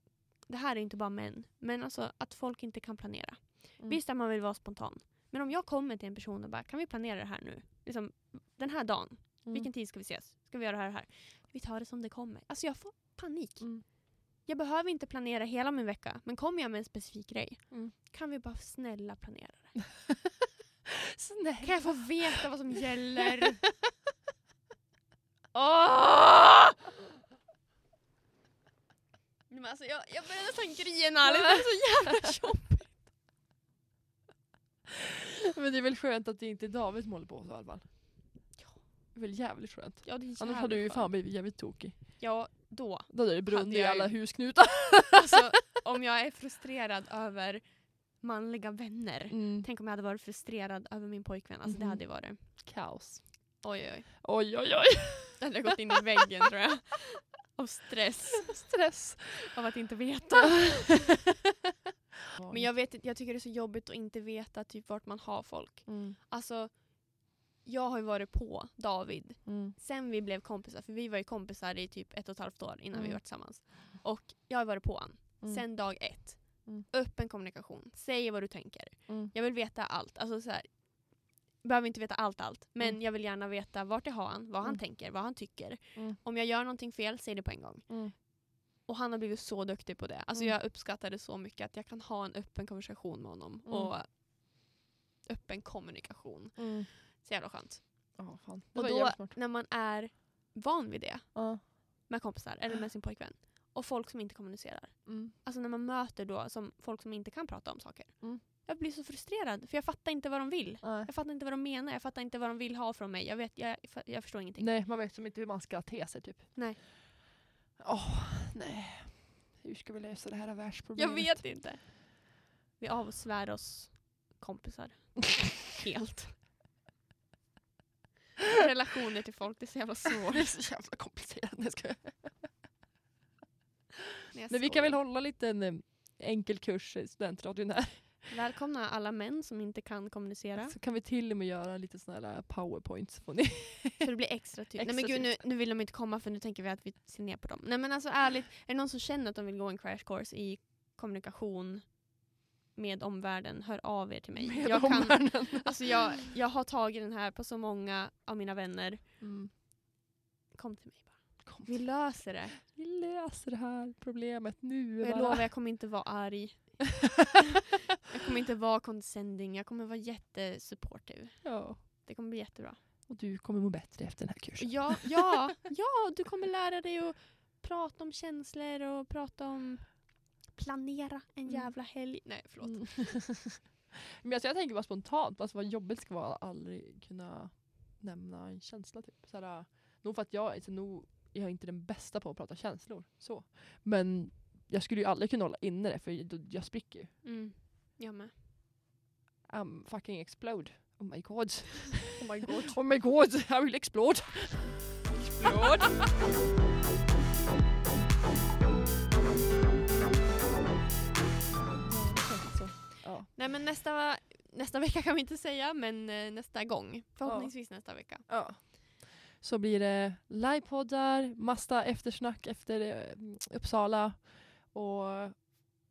Speaker 2: det här är inte bara män, men alltså att folk inte kan planera.
Speaker 1: Mm.
Speaker 2: Visst att man vill vara spontan, men om jag kommer till en person och bara kan vi planera det här nu? liksom, den här dagen,
Speaker 1: Mm.
Speaker 2: vilken tid ska vi ses? Ska vi göra det här och det här? Vi tar det som det kommer. Alltså jag får panik.
Speaker 1: Mm.
Speaker 2: Jag behöver inte planera hela min vecka, men kommer jag med en specifik grej,
Speaker 1: Mm.
Speaker 2: kan vi bara snälla planera det?
Speaker 1: Snälla.
Speaker 2: Kan jag få veta vad som gäller? Åh!
Speaker 1: Ah!
Speaker 2: Men alltså, jag, jag börjar nästan grina liksom. lite, det är så jävla tjock.
Speaker 1: Men det är väl skönt att det inte är David som håller på så i alla fall. Det är väl jävligt skönt.
Speaker 2: Ja, det är
Speaker 1: Annars hade du ju fan blivit jävligt tokig.
Speaker 2: Ja, då.
Speaker 1: Då hade det brunnit
Speaker 2: Hade
Speaker 1: i
Speaker 2: jag
Speaker 1: alla
Speaker 2: ju.
Speaker 1: husknutar.
Speaker 2: Alltså, om jag är frustrerad över manliga vänner.
Speaker 1: Mm.
Speaker 2: Tänk om jag hade varit frustrerad över min pojkvän. Alltså det
Speaker 1: Mhm.
Speaker 2: hade varit.
Speaker 1: Kaos.
Speaker 2: Oj oj.
Speaker 1: Oj oj oj.
Speaker 2: Jag hade gått in i väggen tror jag. Av stress.
Speaker 1: Stress.
Speaker 2: Av att inte veta. Men jag, vet, inte- jag tycker det är så jobbigt att inte veta typ vart man har folk.
Speaker 1: Mm.
Speaker 2: Alltså, jag har ju varit på David
Speaker 1: Mm.
Speaker 2: sen vi blev kompisar. För vi var ju kompisar i typ ett och ett halvt år innan
Speaker 1: Mm.
Speaker 2: vi var tillsammans. Och jag har varit på honom.
Speaker 1: Mm.
Speaker 2: Sen dag ett.
Speaker 1: Mm.
Speaker 2: Öppen kommunikation. Säg vad du tänker.
Speaker 1: Mm.
Speaker 2: Jag vill veta allt. Alltså så här, behöver inte veta allt allt, men
Speaker 1: Mm.
Speaker 2: jag vill gärna veta vart jag har han, vad han
Speaker 1: Mm.
Speaker 2: tänker, vad han tycker.
Speaker 1: Mm.
Speaker 2: Om jag gör någonting fel, säg det på en gång.
Speaker 1: Mm.
Speaker 2: Och han har blivit så duktig på det. Alltså
Speaker 1: Mm.
Speaker 2: jag uppskattar det så mycket att jag kan ha en öppen konversation med honom.
Speaker 1: Mm.
Speaker 2: Och öppen kommunikation.
Speaker 1: Mm.
Speaker 2: Så jävla skönt.
Speaker 1: Ja, fan. Det
Speaker 2: Och
Speaker 1: var
Speaker 2: då
Speaker 1: jävligt smart.
Speaker 2: när man är van vid det
Speaker 1: Ja.
Speaker 2: med kompisar eller med sin pojkvän och folk som inte kommunicerar.
Speaker 1: Mm.
Speaker 2: Alltså när man möter då som folk som inte kan prata om saker.
Speaker 1: Mm.
Speaker 2: Jag blir så frustrerad för jag fattar inte vad de vill.
Speaker 1: Nej.
Speaker 2: Jag fattar inte vad de menar, jag fattar inte vad de vill ha från mig. Jag, vet, jag, jag förstår ingenting.
Speaker 1: Nej, man vet som inte hur man ska te sig typ.
Speaker 2: Nej.
Speaker 1: Åh, nej. Hur ska vi lösa det här världsproblemet?
Speaker 2: Jag vet inte. Vi avsvär oss kompisar. Helt. Relationer till folk, det är så jävla svårt.
Speaker 1: Det är så jävla Alltså, komplicerat. Nej, jag skojar.
Speaker 2: jag
Speaker 1: Men vi
Speaker 2: skojar.
Speaker 1: kan väl hålla en liten eh, enkel kurs i studentradion här.
Speaker 2: Välkomna alla män som inte kan kommunicera.
Speaker 1: Så kan vi till och med göra lite sådana här eh, powerpoints. Får ni.
Speaker 2: Så det blir extra typ. Nej men
Speaker 1: Extra
Speaker 2: gud nu, nu vill de inte komma för nu tänker vi att vi ser ner på dem. Nej men alltså ärligt, är det någon som känner att de vill gå en crash course i kommunikation med omvärlden, hör av er till mig.
Speaker 1: Med
Speaker 2: jag, kan,
Speaker 1: omvärlden.
Speaker 2: alltså jag, jag har tagit den här på så många av mina vänner.
Speaker 1: Mm.
Speaker 2: Kom till mig bara.
Speaker 1: Kom.
Speaker 2: Vi löser det.
Speaker 1: Vi löser det här problemet nu.
Speaker 2: Och jag
Speaker 1: bara.
Speaker 2: lovar, jag kommer inte vara arg. Jag kommer inte vara condescending. Jag kommer vara jättesupportive.
Speaker 1: Ja.
Speaker 2: Det kommer bli jättebra.
Speaker 1: Och du kommer må bättre efter den här kursen.
Speaker 2: Ja, ja, ja, du kommer lära dig att prata om känslor och prata om planera en
Speaker 1: Mm.
Speaker 2: jävla helg. Nej, förlåt.
Speaker 1: Mm. Men alltså jag tänker bara spontant, alltså vad jobbigt det ska vara att aldrig kunna nämna en känsla. Typ. Så här, äh, nog för att jag, alltså, nog, jag är inte den bästa på att prata känslor. Så. Men jag skulle ju aldrig kunna hålla inne det för jag, jag spricker ju.
Speaker 2: Mm. Jag med.
Speaker 1: I'm Um, fucking explode. Oh my god.
Speaker 2: Oh my god.
Speaker 1: Oh my god, I will explode. Explode. Så, ja.
Speaker 2: Nej men nästa, nästa vecka kan vi inte säga, men eh, nästa gång. Förhoppningsvis nästa vecka.
Speaker 1: Ja. Så blir det livepoddar, massa eftersnack efter eh, Uppsala och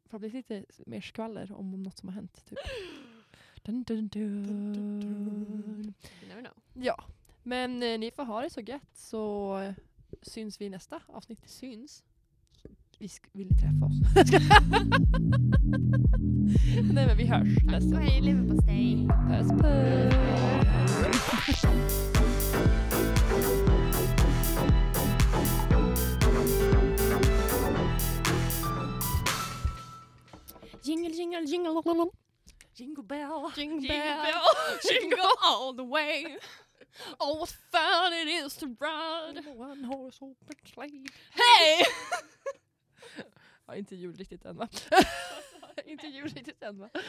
Speaker 1: förhoppningsvis lite mer skvaller om, om något som har hänt. Typ. Dun, dun,
Speaker 2: Dun, dun,
Speaker 1: dun.
Speaker 2: dun. You never know.
Speaker 1: Ja, men eh, ni får ha det så gött så eh, syns vi i nästa avsnitt.
Speaker 2: Syns.
Speaker 1: Vi sk- vill träffa oss. Nej men vi hörs
Speaker 2: Tack
Speaker 1: nästa.
Speaker 2: och hej leverpastej.
Speaker 1: Puss puss.
Speaker 2: Jingle jingle jingle.
Speaker 1: Jingle bell.
Speaker 2: Jingle
Speaker 1: bell.
Speaker 2: bell, jingle all the way. Oh, what fun it is to ride.
Speaker 1: One horse open sleigh.
Speaker 2: Hey!
Speaker 1: Ja, inte jul riktigt än va? inte jul riktigt än va?
Speaker 2: Åh,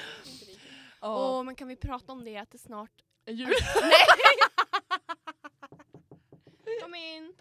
Speaker 1: Ja,
Speaker 2: men kan vi prata om det att det snart...
Speaker 1: jul.
Speaker 2: Kom in!